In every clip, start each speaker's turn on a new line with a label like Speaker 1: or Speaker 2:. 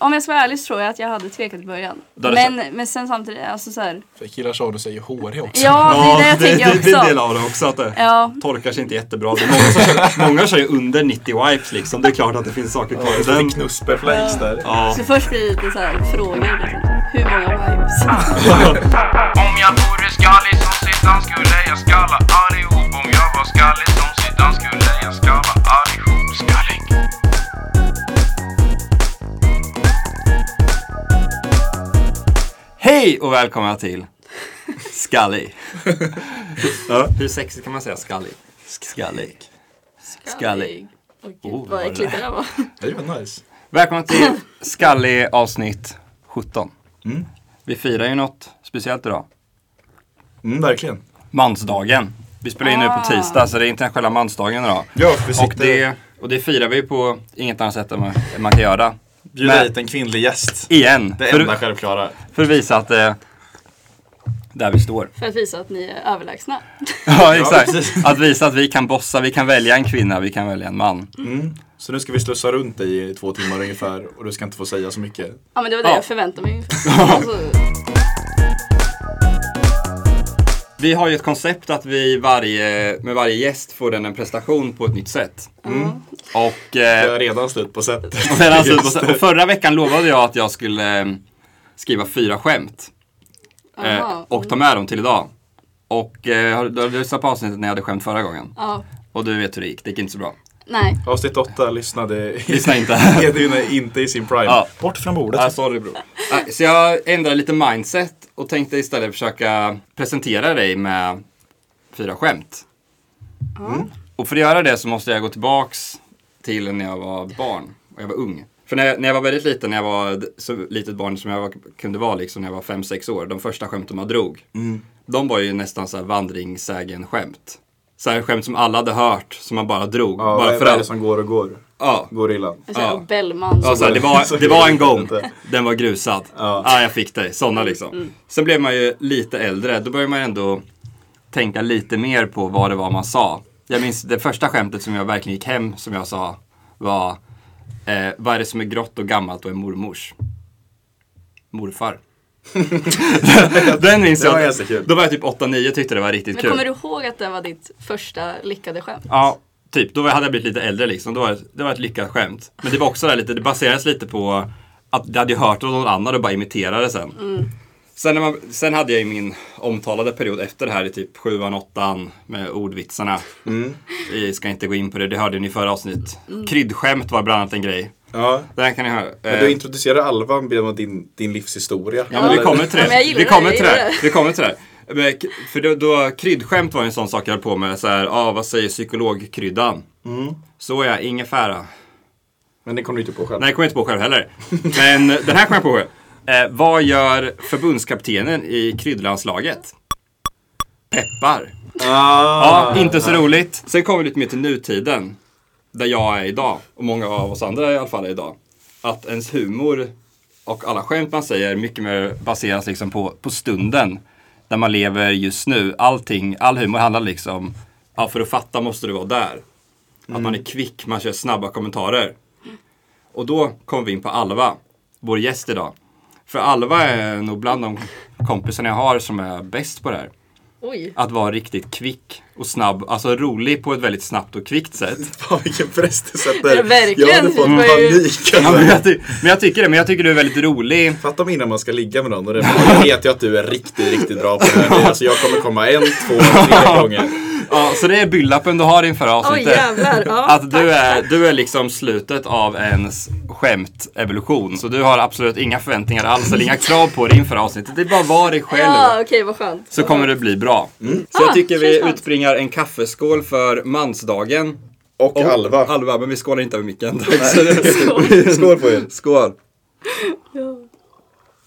Speaker 1: Om jag ska vara ärlig så tror jag att jag hade tvekat i början.
Speaker 2: Då hade
Speaker 1: Men, men sen samtidigt, alltså så här.
Speaker 3: För killar sa du säger hårig också.
Speaker 1: Ja, det är det jag
Speaker 2: det,
Speaker 1: tänker
Speaker 2: det, det är en del
Speaker 1: också.
Speaker 2: av det också. Att det
Speaker 1: Ja.
Speaker 2: torkar sig inte jättebra. Det är många, som kör, många kör ju under 90 wipes liksom. Det är klart att det finns saker kvar i den.
Speaker 3: Lite knusperflex där.
Speaker 2: Ja.
Speaker 1: Så först blir det lite så här frågor. Liksom. Hur många vibes?
Speaker 4: Om jag vore skallig som Zidane skulle jag skalla allihop Om jag var skallig som Zidane skulle jag skalla allihop Skallig
Speaker 2: Hej och välkomna till Skallig. ja. Hur sexigt kan man säga skallig? Skallig. Skallig.
Speaker 1: Åh gud
Speaker 2: Oh, vad
Speaker 1: vad äckligt det där var.
Speaker 3: Det var nice.
Speaker 2: Välkomna till Skallig avsnitt 17. Mm. Vi firar ju något speciellt idag.
Speaker 3: Mm, verkligen.
Speaker 2: Mansdagen. Vi spelar in nu
Speaker 1: Ah.
Speaker 2: på tisdag så det är internationella mansdagen idag.
Speaker 3: Ja, vi
Speaker 2: Och
Speaker 3: sitter
Speaker 2: det, och det firar vi på inget annat sätt än man, än man kan göra.
Speaker 5: Bjuda
Speaker 2: Men-
Speaker 5: hit en kvinnlig gäst.
Speaker 2: Igen,
Speaker 5: Det
Speaker 2: för,
Speaker 5: enda självklara.
Speaker 2: för att visa att eh, där vi står.
Speaker 1: För att visa att ni är överlägsna.
Speaker 2: Ja, exakt.
Speaker 5: precis.
Speaker 2: att visa att vi kan bossa, vi kan välja en kvinna, vi kan välja en man.
Speaker 3: Så nu ska vi slussa runt dig i två timmar ungefär och du ska inte få säga så
Speaker 2: Eh.
Speaker 3: mycket.
Speaker 1: Ja men det var det
Speaker 2: Ja.
Speaker 1: jag förväntade mig ungefär. Alltså,
Speaker 2: Vi har ju ett koncept att vi varje, med varje gäst får den en prestation på ett nytt sätt. Och, eh,
Speaker 3: Jag är redan slut på sättet.
Speaker 2: och, sen alltså, och förra veckan lovade jag att jag skulle eh, skriva fyra skämt. Eh,
Speaker 1: Aha.
Speaker 2: och ta med dem till idag. Och eh, har- du har lyssnat på avsnittet när jag hade skämt förra gången.
Speaker 1: ja,
Speaker 2: Och du vet hur det gick, det gick inte så bra.
Speaker 1: nej.
Speaker 3: Avsnitt åtta lyssnade
Speaker 2: Lyssna inte.
Speaker 3: Edvin är inte i sin prime.
Speaker 2: Ja.
Speaker 3: Bort från bordet.
Speaker 2: Ah, sorry bror. Ah, Så jag ändrade lite mindset och tänkte istället försöka presentera dig med fyra skämt. Mm. Och för att göra det så måste jag gå tillbaks till när jag var barn och jag var ung. För när jag, när jag var väldigt liten, när jag var d- så litet barn som jag var, kunde vara liksom när jag var 5-6 år, de första skämten man drog,
Speaker 3: Mm.
Speaker 2: de var ju nästan så här vandringssägen-skämt. Så här skämt som alla hade hört, som man bara drog.
Speaker 3: Ja,
Speaker 2: bara
Speaker 3: vad är
Speaker 2: för
Speaker 3: vad är det
Speaker 2: att,
Speaker 3: som går och går?
Speaker 2: ja.
Speaker 3: Gorillan.
Speaker 1: Alltså,
Speaker 2: Ja.
Speaker 1: Och Bellman.
Speaker 2: Ja, så här, Alltså, det, var, det var en gång, den var grusad.
Speaker 3: Ja. Mm.
Speaker 2: Ah, jag fick dig. Sådana liksom. Sen blev man ju lite äldre, då började man ändå tänka lite mer på vad det var man sa. Jag minns det första skämtet som jag verkligen gick hem som jag sa var eh, Vad är det som är grått och gammalt och är mormors? Morfar. Den minns
Speaker 3: Det var
Speaker 2: jag.
Speaker 3: ganska kul.
Speaker 2: Då var jag typ 8-9 tyckte det var riktigt
Speaker 1: men
Speaker 2: kul.
Speaker 1: kommer du ihåg att det var ditt första lyckade skämt?
Speaker 2: Ja, typ. Då var- hade jag blivit lite äldre liksom. Då var det, det var ett lyckat skämt. Men det var också där lite, det baserades lite på att jag hade ju hört av någon annan och bara imiterade sen.
Speaker 1: Mm.
Speaker 2: Sen, när man, sen hade jag ju min omtalade period efter det här i typ sjuan, åttan med ordvitsarna.
Speaker 3: Mm.
Speaker 2: Vi ska inte gå in på det, det hörde ni i förra avsnitt.
Speaker 1: Mm.
Speaker 2: Kryddskämt var bland annat en grej.
Speaker 3: Ja.
Speaker 2: Den kan ni höra.
Speaker 3: Men
Speaker 2: Eh,
Speaker 3: du introducerar Alvan genom din, din livshistoria.
Speaker 2: Ja, men vi
Speaker 1: Ja.
Speaker 2: kommer till
Speaker 1: Ja, men
Speaker 2: det.
Speaker 1: jag gillar
Speaker 2: vi
Speaker 1: det,
Speaker 2: kommer
Speaker 1: jag
Speaker 2: till
Speaker 1: gillar
Speaker 2: det.
Speaker 1: det.
Speaker 2: Vi kommer till det. Men k- För då, då, kryddskämt var en sån sak jag höll på med. Så här, ah, vad säger psykologkryddan?
Speaker 3: Mm.
Speaker 2: Så ja, ingefära.
Speaker 3: Men det kom du inte på själv.
Speaker 2: Nej, jag kommer inte på själv heller. Men den här kommer jag på själv. Eh, vad gör förbundskaptenen i kryddlandslaget? Peppar.
Speaker 3: Ah.
Speaker 2: Ja, inte så roligt. Sen kommer vi lite mer till nutiden. Där jag är idag, och många av oss andra i alla fall är idag. Att ens humor och alla skämt man säger mycket mer baseras liksom på, på stunden. Där man lever just nu. Allting, all humor handlar liksom, ja, för att fatta måste du vara där. Att man är kvick, man kör snabba kommentarer. Och då kom vi in på Alva, vår gäst idag. För Alva är nog bland de kompisarna jag har som är bäst på det här
Speaker 1: Oj.
Speaker 2: att vara riktigt kvick och snabb, alltså rolig på ett väldigt snabbt och kvickt sätt.
Speaker 3: Fan vilken press du sätter.
Speaker 1: Ja, verkligen.
Speaker 3: Jag hade fått
Speaker 1: Mm.
Speaker 3: panik.
Speaker 2: Ja, men, jag ty- men jag tycker det, men jag tycker du är väldigt rolig.
Speaker 3: Fatta om innan man ska ligga med någon och det då vet jag att du är riktigt, riktigt bra på det här. Alltså jag kommer komma en, två, tre gånger.
Speaker 2: Ja, så det är build-upen du har inför
Speaker 1: Oj
Speaker 2: avsnittet.
Speaker 1: jävlar. Ja.
Speaker 2: Att du är, du är liksom slutet av ens skämtevolution. Så du har absolut inga förväntningar alls eller inga krav på dig inför avsnittet. Det är bara att vara dig
Speaker 1: Ja,
Speaker 2: själv.
Speaker 1: okej vad skönt.
Speaker 2: Så kommer det bli bra. Så
Speaker 1: Ah,
Speaker 2: jag tycker vi
Speaker 1: känns skönt.
Speaker 2: utbringar en kaffeskål för mansdagen.
Speaker 3: Och Alva.
Speaker 2: Alva, men vi skålar inte över micken.
Speaker 3: Skål på er.
Speaker 2: Skål.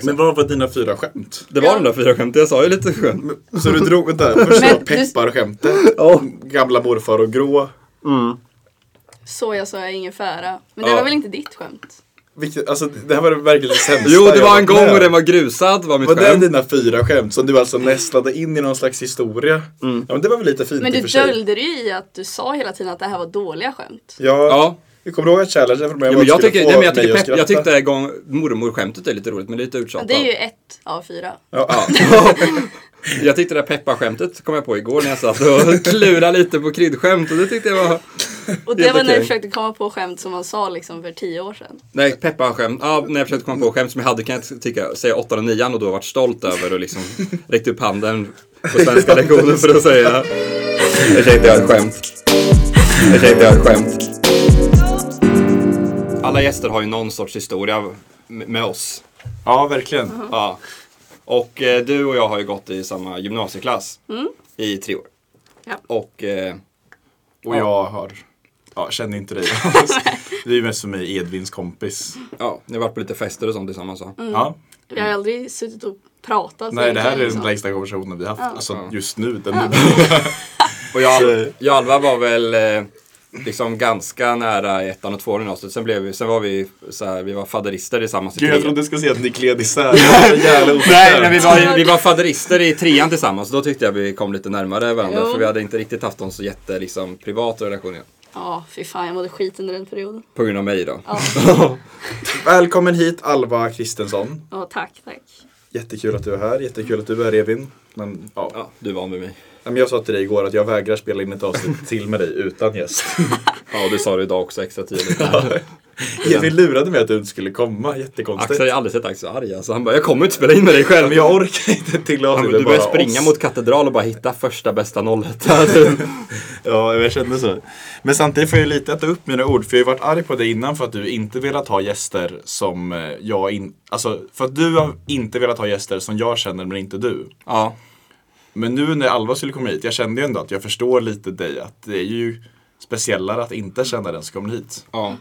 Speaker 3: Men vad var dina fyra skämt?
Speaker 2: Det var de där fyra skämten, jag sa ju lite skönt.
Speaker 3: Så du drog, vänta, först var
Speaker 1: Men du-
Speaker 3: pepparskämtet, gamla morfar och grå.
Speaker 1: Så jag sa jag ingefära. Men det
Speaker 2: Ja.
Speaker 1: var väl inte ditt skämt?
Speaker 3: Vilket, alltså det här var verkligen det sämsta
Speaker 2: Jo, det
Speaker 3: jag
Speaker 2: var
Speaker 3: varit
Speaker 2: en gång
Speaker 3: med
Speaker 2: och
Speaker 3: om.
Speaker 2: den var grusad var mitt
Speaker 3: Var det
Speaker 2: skämt.
Speaker 3: dina fyra skämt som du alltså nästlade in i någon slags historia?
Speaker 2: Mm.
Speaker 3: Ja men det var väl lite fint
Speaker 1: Men
Speaker 3: i
Speaker 1: du
Speaker 3: och för sig.
Speaker 1: döljde det ju i att du sa hela tiden att det här var dåliga skämt.
Speaker 3: Ja,
Speaker 2: Ja.
Speaker 3: Jag kommer ihåg att challengen för mig var
Speaker 2: Ja, men
Speaker 3: att
Speaker 2: jag,
Speaker 3: skulle
Speaker 2: tycker,
Speaker 3: få
Speaker 2: nej, men jag,
Speaker 3: mig
Speaker 2: tycker
Speaker 3: att
Speaker 2: pepp, jag
Speaker 3: skratta.
Speaker 2: tyckte gång mormor-skämtet är lite roligt, men lite
Speaker 1: Ja,
Speaker 2: uttjatat.
Speaker 1: det är ju ett av fyra.
Speaker 2: Ja. jag tyckte det där pepparskämtet kom jag på igår när jag satt och klurade lite på kryddskämt och det tyckte jag var...
Speaker 1: Och det
Speaker 2: Helt
Speaker 1: var när
Speaker 2: okej.
Speaker 1: jag försökte komma på skämt som man sa liksom för tio år sedan.
Speaker 2: Nej, pepparskämt. Ja, när jag försökte komma på skämt som jag hade kan jag tycka, säga åttan och nian och då varit stolt över och liksom räckt upp handen på svenska lektionen för att säga Ursäkta, jag har ett skämt. Ursäkta, jag har ett skämt. Alla gäster har ju någon sorts historia med med oss.
Speaker 3: Ja, verkligen.
Speaker 2: Ja. Och eh, du och jag har ju gått i samma gymnasieklass i tre år.
Speaker 1: Ja.
Speaker 2: Och eh,
Speaker 3: Och jag har, ja, känner inte dig. det är ju mest som mig, Edvins kompis.
Speaker 2: ja, ni har varit på lite fester och sånt tillsammans va?
Speaker 3: Ja.
Speaker 1: Vi har aldrig suttit och pratat.
Speaker 3: Mm. Nej, det här är
Speaker 1: egentligen,
Speaker 3: den längsta konversationen vi har haft. Alltså
Speaker 2: Ja.
Speaker 3: just nu. Den
Speaker 2: Och jag, Jalva var väl eh, liksom ganska nära i ettan och tvåan i gymnasiet. Sen, blev vi, sen var vi så här, vi var fadderister tillsammans i
Speaker 3: Gud, jag
Speaker 2: trean.
Speaker 3: trodde du skulle säga att ni gled isär. Jag är jävla
Speaker 2: Nej, men
Speaker 3: oförskämd.
Speaker 2: vi var, vi var fadderister i trean tillsammans. Då tyckte jag vi kom lite närmare varandra.
Speaker 1: Jo.
Speaker 2: För vi hade inte riktigt haft någon så jätte liksom, privat relation igen.
Speaker 1: Ja, fy fan jag mådde skit under den perioden.
Speaker 2: På grund av mig då.
Speaker 1: Ja,
Speaker 3: Välkommen hit Alva Kristensson.
Speaker 1: ja tack, tack.
Speaker 3: Jättekul att du är här, jättekul att du är här Evin. Men ja.
Speaker 2: Ja, du var med mig.
Speaker 3: Nej, men jag sa till dig igår att jag vägrar spela in ett avsnitt till med dig utan gäst.
Speaker 2: Ja, och du sa det idag också extra tydligt.
Speaker 3: Evin lurade mig att du inte skulle komma, jättekonstigt.
Speaker 2: Axel, jag har aldrig sett Axel så arg alltså. Han bara, jag kommer inte spela in med dig själv.
Speaker 3: Men jag orkar inte till
Speaker 2: Han bara,
Speaker 3: avsnittet
Speaker 2: du börjar
Speaker 3: bara
Speaker 2: springa
Speaker 3: oss.
Speaker 2: mot katedral och bara hitta första bästa nollet. Alltså,
Speaker 3: Ja, jag kände så. Men samtidigt får jag lite äta upp mina ord, för jag har ju varit arg på dig innan för att du inte velat ha gäster som eh, jag in... Alltså, för att du har inte velat ha gäster som jag känner men inte du.
Speaker 2: ja.
Speaker 3: Men nu när Alva skulle komma hit, jag kände ju ändå att jag förstår lite dig att det är ju speciellare att inte känna den som kommer hit.
Speaker 2: Ja.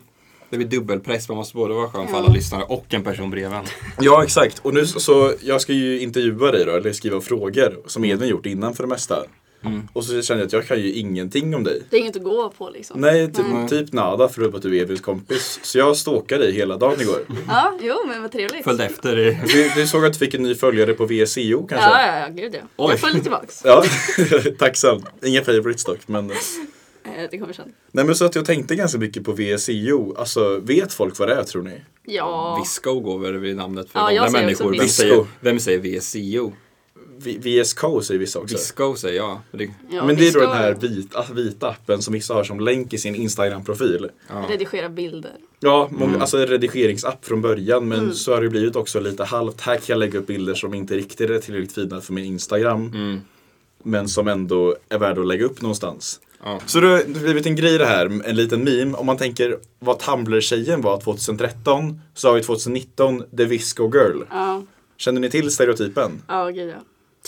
Speaker 2: Det blir dubbelpress, man måste både vara skön för alla lyssnare och en person bredvid en.
Speaker 3: Ja, exakt. Och nu så- så, jag ska ju intervjua dig då, eller skriva frågor som
Speaker 2: Mm.
Speaker 3: Edvin gjort innan för det mesta. Och så kände jag att jag kan ju ingenting om dig.
Speaker 1: Det är inget att gå på liksom.
Speaker 3: Nej, typ, typ nada förutom att du är Edvins kompis. Så jag stalkade dig hela dagen igår.
Speaker 1: Ja, jo men vad trevligt.
Speaker 2: Följde efter i...
Speaker 3: Du, du såg att du fick en ny följare på VCO kanske?
Speaker 1: ja, ja, ja, gud ja.
Speaker 2: Oj.
Speaker 1: Jag följer tillbaks.
Speaker 3: Ja, tacksam. Inga favorites dock, men...
Speaker 1: Eh, Det kommer sen.
Speaker 3: Nej men så att jag tänkte ganska mycket på VCO. Alltså, vet folk vad det är tror ni?
Speaker 1: Ja.
Speaker 2: Visco går väl vid namnet för
Speaker 1: Ja,
Speaker 2: vanliga
Speaker 1: jag säger också
Speaker 2: människor. Vem
Speaker 1: Visco.
Speaker 2: säger, vem säger VCO?
Speaker 3: V- VSK säger vissa också.
Speaker 2: Visco säger jag. Det,
Speaker 1: ja
Speaker 3: men det är
Speaker 1: Visco
Speaker 3: då den här vita, vita appen som vissa har som länk i sin Instagram-profil.
Speaker 1: Redigera bilder.
Speaker 3: Ja, många, alltså en redigeringsapp från början men så har det blivit också lite halvt. Här kan jag lägga upp bilder som inte riktigt är tillräckligt fina för min Instagram. Men som ändå är värda att lägga upp någonstans.
Speaker 2: Ja.
Speaker 3: Så det har blivit en grej det här, en liten meme. Om man tänker vad Tumblr-tjejen var 2013 så har vi 2019 The Visco Girl.
Speaker 1: Ja,
Speaker 3: Känner ni till stereotypen?
Speaker 1: ja gud ja.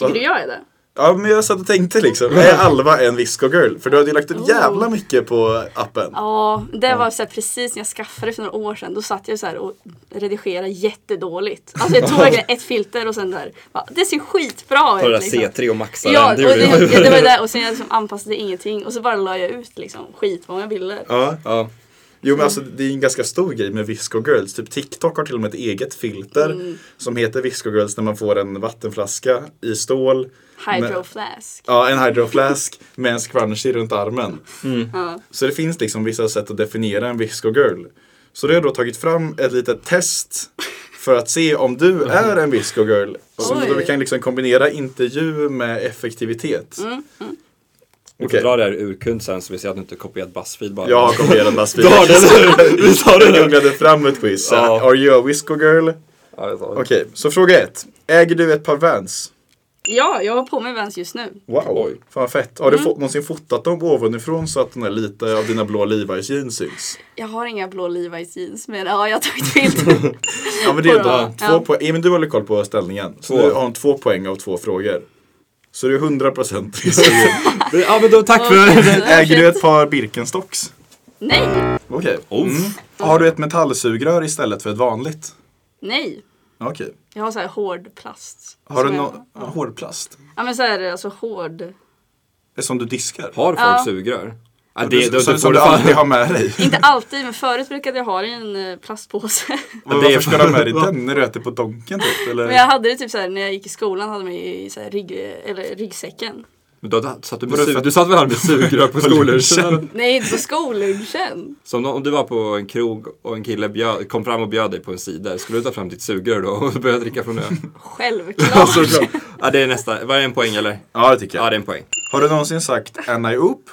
Speaker 3: Va?
Speaker 1: Tycker du jag är det?
Speaker 3: Ja, men jag satt och tänkte liksom, är Alva en Visco Girl? För du hade ju lagt upp jävla mycket på appen.
Speaker 1: Ja, det var så här precis när jag skaffade för några år sedan. Då satt jag så här och redigerade jättedåligt. Alltså jag tog verkligen ett filter och sen där. bara, Det ser skitbra
Speaker 2: Ta det
Speaker 1: ut
Speaker 2: där
Speaker 1: liksom.
Speaker 2: C3 och maxa
Speaker 1: Ja, och
Speaker 2: den. Det gjorde
Speaker 1: det,
Speaker 2: jag.
Speaker 1: ja, det var ju det. Och sen jag liksom anpassade ingenting och så bara la jag ut liksom skitmånga bilder.
Speaker 3: Ja.
Speaker 2: Ja.
Speaker 3: Jo
Speaker 2: Mm.
Speaker 3: men alltså det är ju en ganska stor grej med Visco Girls. Typ TikTok har till och med ett eget filter
Speaker 2: Mm.
Speaker 3: som heter Visco Girls när man får en vattenflaska i stål. med-
Speaker 1: Hydroflask.
Speaker 3: Ja, en hydroflask med en scrunchie runt armen.
Speaker 2: Mm.
Speaker 3: Mm.
Speaker 1: Ja.
Speaker 3: Så det finns liksom vissa sätt att definiera en Visco Girl. Så det har jag då tagit fram ett litet test för att se om du är en Visco Girl. Så
Speaker 1: Oj.
Speaker 3: då vi kan liksom kombinera intervju med effektivitet.
Speaker 2: Mm. Vi får
Speaker 3: Okej.
Speaker 2: dra det här ur urkund sen så vi ser att du inte kopierat Buzzfeed bara.
Speaker 3: Jag har kopierat Buzzfeed.
Speaker 2: Du har det nu! Vi tar det
Speaker 3: Jag
Speaker 2: nu!
Speaker 3: googlade fram ett quiz.
Speaker 2: Ja.
Speaker 3: Are you a Visco Girl?
Speaker 2: Ja, jag tar det.
Speaker 3: Okej, så fråga ett. Äger du ett par Vans?
Speaker 1: ja, jag har på mig Vans just nu.
Speaker 3: Wow,
Speaker 2: Oj.
Speaker 3: fan vad fett. Har du fått, någonsin fotat dem ovanifrån så att den där lite av dina blå Levi's jeans syns?
Speaker 1: Jag har inga blå Levi's jeans men ja, jag har tagit bilder.
Speaker 3: Ja men det är
Speaker 1: På dem,
Speaker 3: ändå två
Speaker 1: ja.
Speaker 3: poäng. Ja, men du håller koll på ställningen. Så
Speaker 2: Två.
Speaker 3: du har två poäng av två frågor. Så du är 100 procent
Speaker 2: Ja men då tack för...
Speaker 3: Äger du ett par Birkenstocks?
Speaker 1: Nej,
Speaker 3: Okej.
Speaker 2: Oh.
Speaker 3: Har du ett metallsugrör istället för ett vanligt?
Speaker 1: nej.
Speaker 3: Okej.
Speaker 1: Jag har så här hård plast.
Speaker 3: Har du
Speaker 1: Som jag-
Speaker 3: någon hårdplast?
Speaker 1: Ja men så här alltså hård.
Speaker 3: Som du diskar?
Speaker 2: Har folk
Speaker 1: Ja.
Speaker 2: sugrör? Ja,
Speaker 3: Det,
Speaker 2: det, då,
Speaker 3: som,
Speaker 2: då får
Speaker 3: som
Speaker 2: du
Speaker 3: du alltid
Speaker 2: fan...
Speaker 3: har med dig?
Speaker 1: Inte alltid men förut brukade jag ha det i en eh, plastpåse.
Speaker 3: Men
Speaker 2: Det är
Speaker 3: varför ska du ha med dig
Speaker 2: fan-
Speaker 3: den när du äter på Donken typ? Eller?
Speaker 1: Men jag hade det typ såhär när jag gick i skolan hade man ju i så här rygg, eller ryggsäcken.
Speaker 2: Men Då, då, satt du, med
Speaker 3: Vadå,
Speaker 2: su-
Speaker 3: för att-
Speaker 2: du satt väl här med sugrör på skollunchen?
Speaker 3: lunchen?
Speaker 2: eller?
Speaker 1: Nej, inte på skollunchen.
Speaker 2: Så om, nå- om du var på en krog och en kille bjöd, kom fram och bjöd dig på en cider, skulle du ta fram ditt sugrör då och börja dricka från det? Ja,
Speaker 3: Alltså-
Speaker 1: Självklart.
Speaker 2: såklart. ja, det är nästa. Var det en poäng eller?
Speaker 3: Ja, det tycker
Speaker 2: Ja,
Speaker 3: jag.
Speaker 2: det är en poäng.
Speaker 3: Har du någonsin sagt “and I oop”?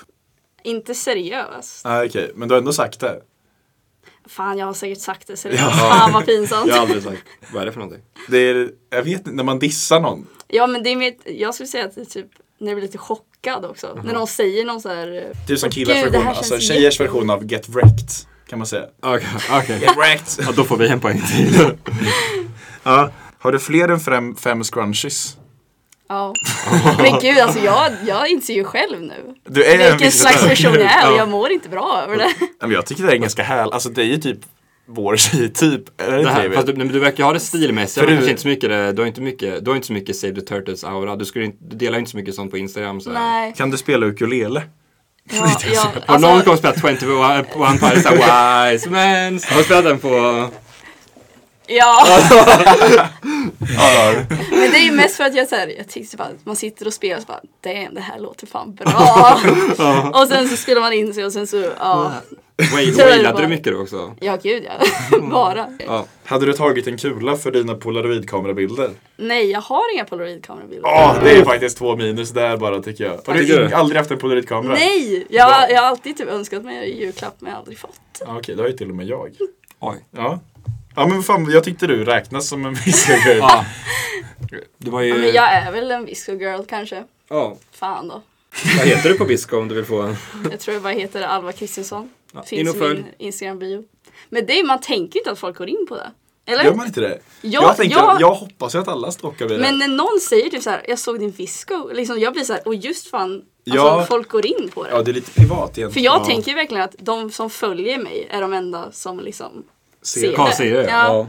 Speaker 1: inte seriöst.
Speaker 3: Nej, okej. Men du har ändå sagt det.
Speaker 1: Fan, jag har säkert sagt det seriöst. Fan vad pinsamt.
Speaker 2: Jag har
Speaker 1: Ja.
Speaker 2: aldrig sagt. Vad är det för någonting?
Speaker 3: Det är, jag vet inte, när man dissar någon.
Speaker 1: men det är mer, jag skulle säga att det är typ när jag blir lite chockad också. När någon säger någon så här. eh,
Speaker 3: Typ som killars
Speaker 1: Gud, det
Speaker 3: version,
Speaker 1: här
Speaker 3: alltså
Speaker 1: känns
Speaker 3: tjejers version av “get wrecked” kan man säga.
Speaker 2: Okej. okej.
Speaker 3: Get wrecked!
Speaker 2: Ja, då får vi en poäng till.
Speaker 3: ja. Har du fler än fem, fem scrunchies?
Speaker 1: Ja. Men gud, alltså jag, jag inser ju själv nu.
Speaker 3: Du är en
Speaker 1: Vilken
Speaker 3: viss-
Speaker 1: slags person jag är och
Speaker 3: Ja.
Speaker 1: jag mår inte bra över det.
Speaker 3: Ja, men jag tycker det är ganska härligt. Alltså det är ju typ vår tjejtyp. Är det
Speaker 2: Det
Speaker 3: inte
Speaker 2: här,
Speaker 3: det,
Speaker 2: fast du, nej, men du verkar ha det stilmässiga,
Speaker 3: För du-
Speaker 2: men kanske inte så mycket, det- du har inte mycket, du har inte så mycket Save the Turtles-aura. Du, skulle inte- du delar inte så mycket sånt på Instagram. Så här.
Speaker 1: Nej.
Speaker 3: Kan du spela ukulele?
Speaker 1: Ja, ja,
Speaker 2: Och någon
Speaker 1: alltså,
Speaker 2: kommer att spela 21 på One Pilots Wise Man. Har du spelat den på...
Speaker 1: ja. Men det är ju mest för att jag såhär, jag tyckte bara att man sitter och spelar och så bara damn det här låter fan bra. och sen så spelar man in sig och sen så, ja.
Speaker 2: Wail-
Speaker 1: Så är det
Speaker 2: Wailade du
Speaker 1: bara.
Speaker 2: mycket då också?
Speaker 1: Ja gud ja. Bara.
Speaker 2: Ja.
Speaker 3: Hade du tagit en kula för dina polaroidkamerabilder?
Speaker 1: Nej jag har inga polaroidkamerabilder.
Speaker 3: Ja, det är faktiskt två minus där bara tycker jag. Har
Speaker 2: Tycker
Speaker 3: du
Speaker 2: du?
Speaker 3: in- aldrig haft en polaroidkamera?
Speaker 1: Nej! Jag, jag har alltid typ önskat mig en julklapp men jag har aldrig fått.
Speaker 3: Ja, okej, det har ju till och med jag.
Speaker 2: Oj.
Speaker 3: Ja. Ja men fan, jag tyckte du räknas som en visselgrej.
Speaker 2: Ja. Du var
Speaker 1: Ja,
Speaker 2: ju...
Speaker 1: men jag är väl en visco girl kanske.
Speaker 2: Ja.
Speaker 1: Fan då.
Speaker 2: Vad heter du på Bisco om du vill få en?
Speaker 1: Jag tror jag bara heter Alva Kristiansson.
Speaker 2: in och
Speaker 1: Finns i
Speaker 2: följ.
Speaker 1: min Instagram-bio. Men det, är- man tänker inte att folk går in på det. Eller?
Speaker 3: Gör man inte det?
Speaker 1: Ja,
Speaker 3: jag tänker,
Speaker 1: ja.
Speaker 3: jag hoppas ju att alla strockar vid det.
Speaker 1: Men när någon säger typ såhär, jag såg din fisco. Liksom, jag blir såhär, och just fan,
Speaker 3: Ja.
Speaker 1: alltså, folk går in på det.
Speaker 3: Ja, det är lite privat egentligen.
Speaker 1: För jag
Speaker 3: ja.
Speaker 1: tänker verkligen att de som följer mig är de enda som liksom
Speaker 3: Ser.
Speaker 1: ser,
Speaker 2: Karl ser det?
Speaker 1: Ja.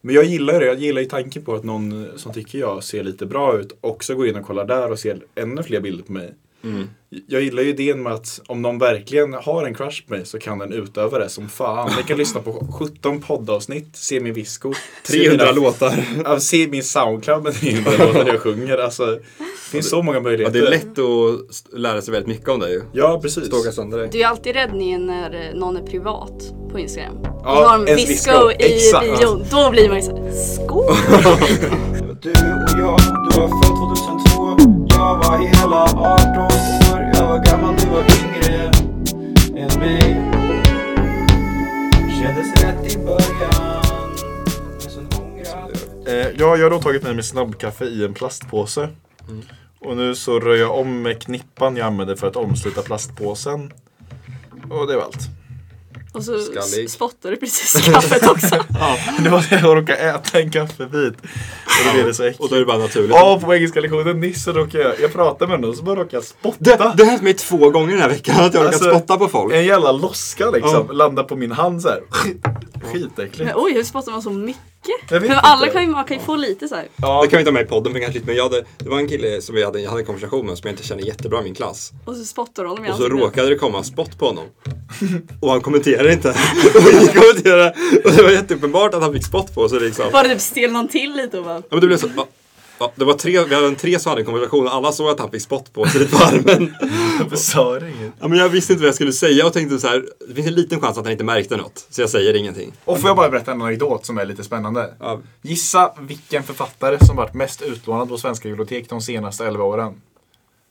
Speaker 3: Men jag gillar det. Jag gillar ju tanken på att någon som tycker jag ser lite bra ut också går in och kollar där och ser ännu fler bilder på mig.
Speaker 2: Mm.
Speaker 3: Jag gillar ju idén med att om någon verkligen har en crush på mig så kan den utöva det som fan. Den kan lyssna på 17 poddavsnitt, se min visko,
Speaker 2: 300 låtar.
Speaker 3: låtar. Se min Soundcloud med 300 låtar jag sjunger. Alltså, det finns så många
Speaker 2: Ja,
Speaker 3: möjligheter.
Speaker 2: det är lätt att s- lära sig väldigt mycket om dig ju.
Speaker 3: Ja, precis.
Speaker 2: Ståka sönder dig.
Speaker 1: Du är alltid räddningen när eh, någon är privat på Instagram.
Speaker 3: Ja,
Speaker 1: Ja, du har en
Speaker 3: en
Speaker 1: visco i
Speaker 3: Visco, exakt.
Speaker 1: bion. Då blir man ju såhär, skål!
Speaker 5: Du och jag, du var född 2002 Jag var hela 18 år Jag var gammal, du var yngre än mig Kändes rätt i början Men sen ångrar
Speaker 3: Eh, ja, jag har då tagit med mig snabbkaffe i en plastpåse. Mm. Och nu så rör jag om med knippan jag använder för att omsluta plastpåsen. Och det var allt.
Speaker 1: Och så
Speaker 2: Skallig.
Speaker 1: s- spottar du precis i kaffet också.
Speaker 3: Det var det jag råkade äta en kaffebit. Och då blev det så
Speaker 2: Och
Speaker 3: äckligt.
Speaker 2: då är det bara naturligt.
Speaker 3: Ja, på engelska lektionen nyss så råkade jag, jag pratade med någon så bara råkade jag spotta.
Speaker 2: Det har hänt mig två gånger den här veckan att jag råkat
Speaker 3: Alltså,
Speaker 2: spotta på folk.
Speaker 3: En jävla loska liksom,
Speaker 2: Ja.
Speaker 3: landade på min hand så här. Skitäckligt.
Speaker 1: Men oj, hur spottar man så mycket?
Speaker 3: Jag vet
Speaker 1: Men alla
Speaker 3: inte.
Speaker 1: kan ju, man kan ju få lite såhär.
Speaker 2: Det kan vi inte ha med i podden men kanske lite, men jag hade, det var en kille som jag hade, jag hade en konversation med som jag inte kände jättebra i min klass.
Speaker 1: Och så spottar du honom i
Speaker 2: Och så
Speaker 1: ansiktet.
Speaker 2: råkade det komma spott på honom. Och han kommenterade inte. Och ingen kommenterade. Och det var jätteuppenbart att han fick spott på sig liksom. Ja,
Speaker 1: Bara typ stelna till lite och bara
Speaker 2: men det blev så, ja, ja, det var tre, vi hade en tre som hade en konversation och alla såg att han fick spott på sig på armen.
Speaker 3: Varför sa du inget?
Speaker 2: Ja, men jag visste inte vad jag skulle säga och tänkte så här, det finns en liten chans att han inte märkte något. Så jag säger ingenting.
Speaker 3: Och får jag bara berätta en anekdot som är lite spännande?
Speaker 2: Ja.
Speaker 3: Gissa vilken författare som varit mest utlånad på svenska bibliotek de senaste 11 åren.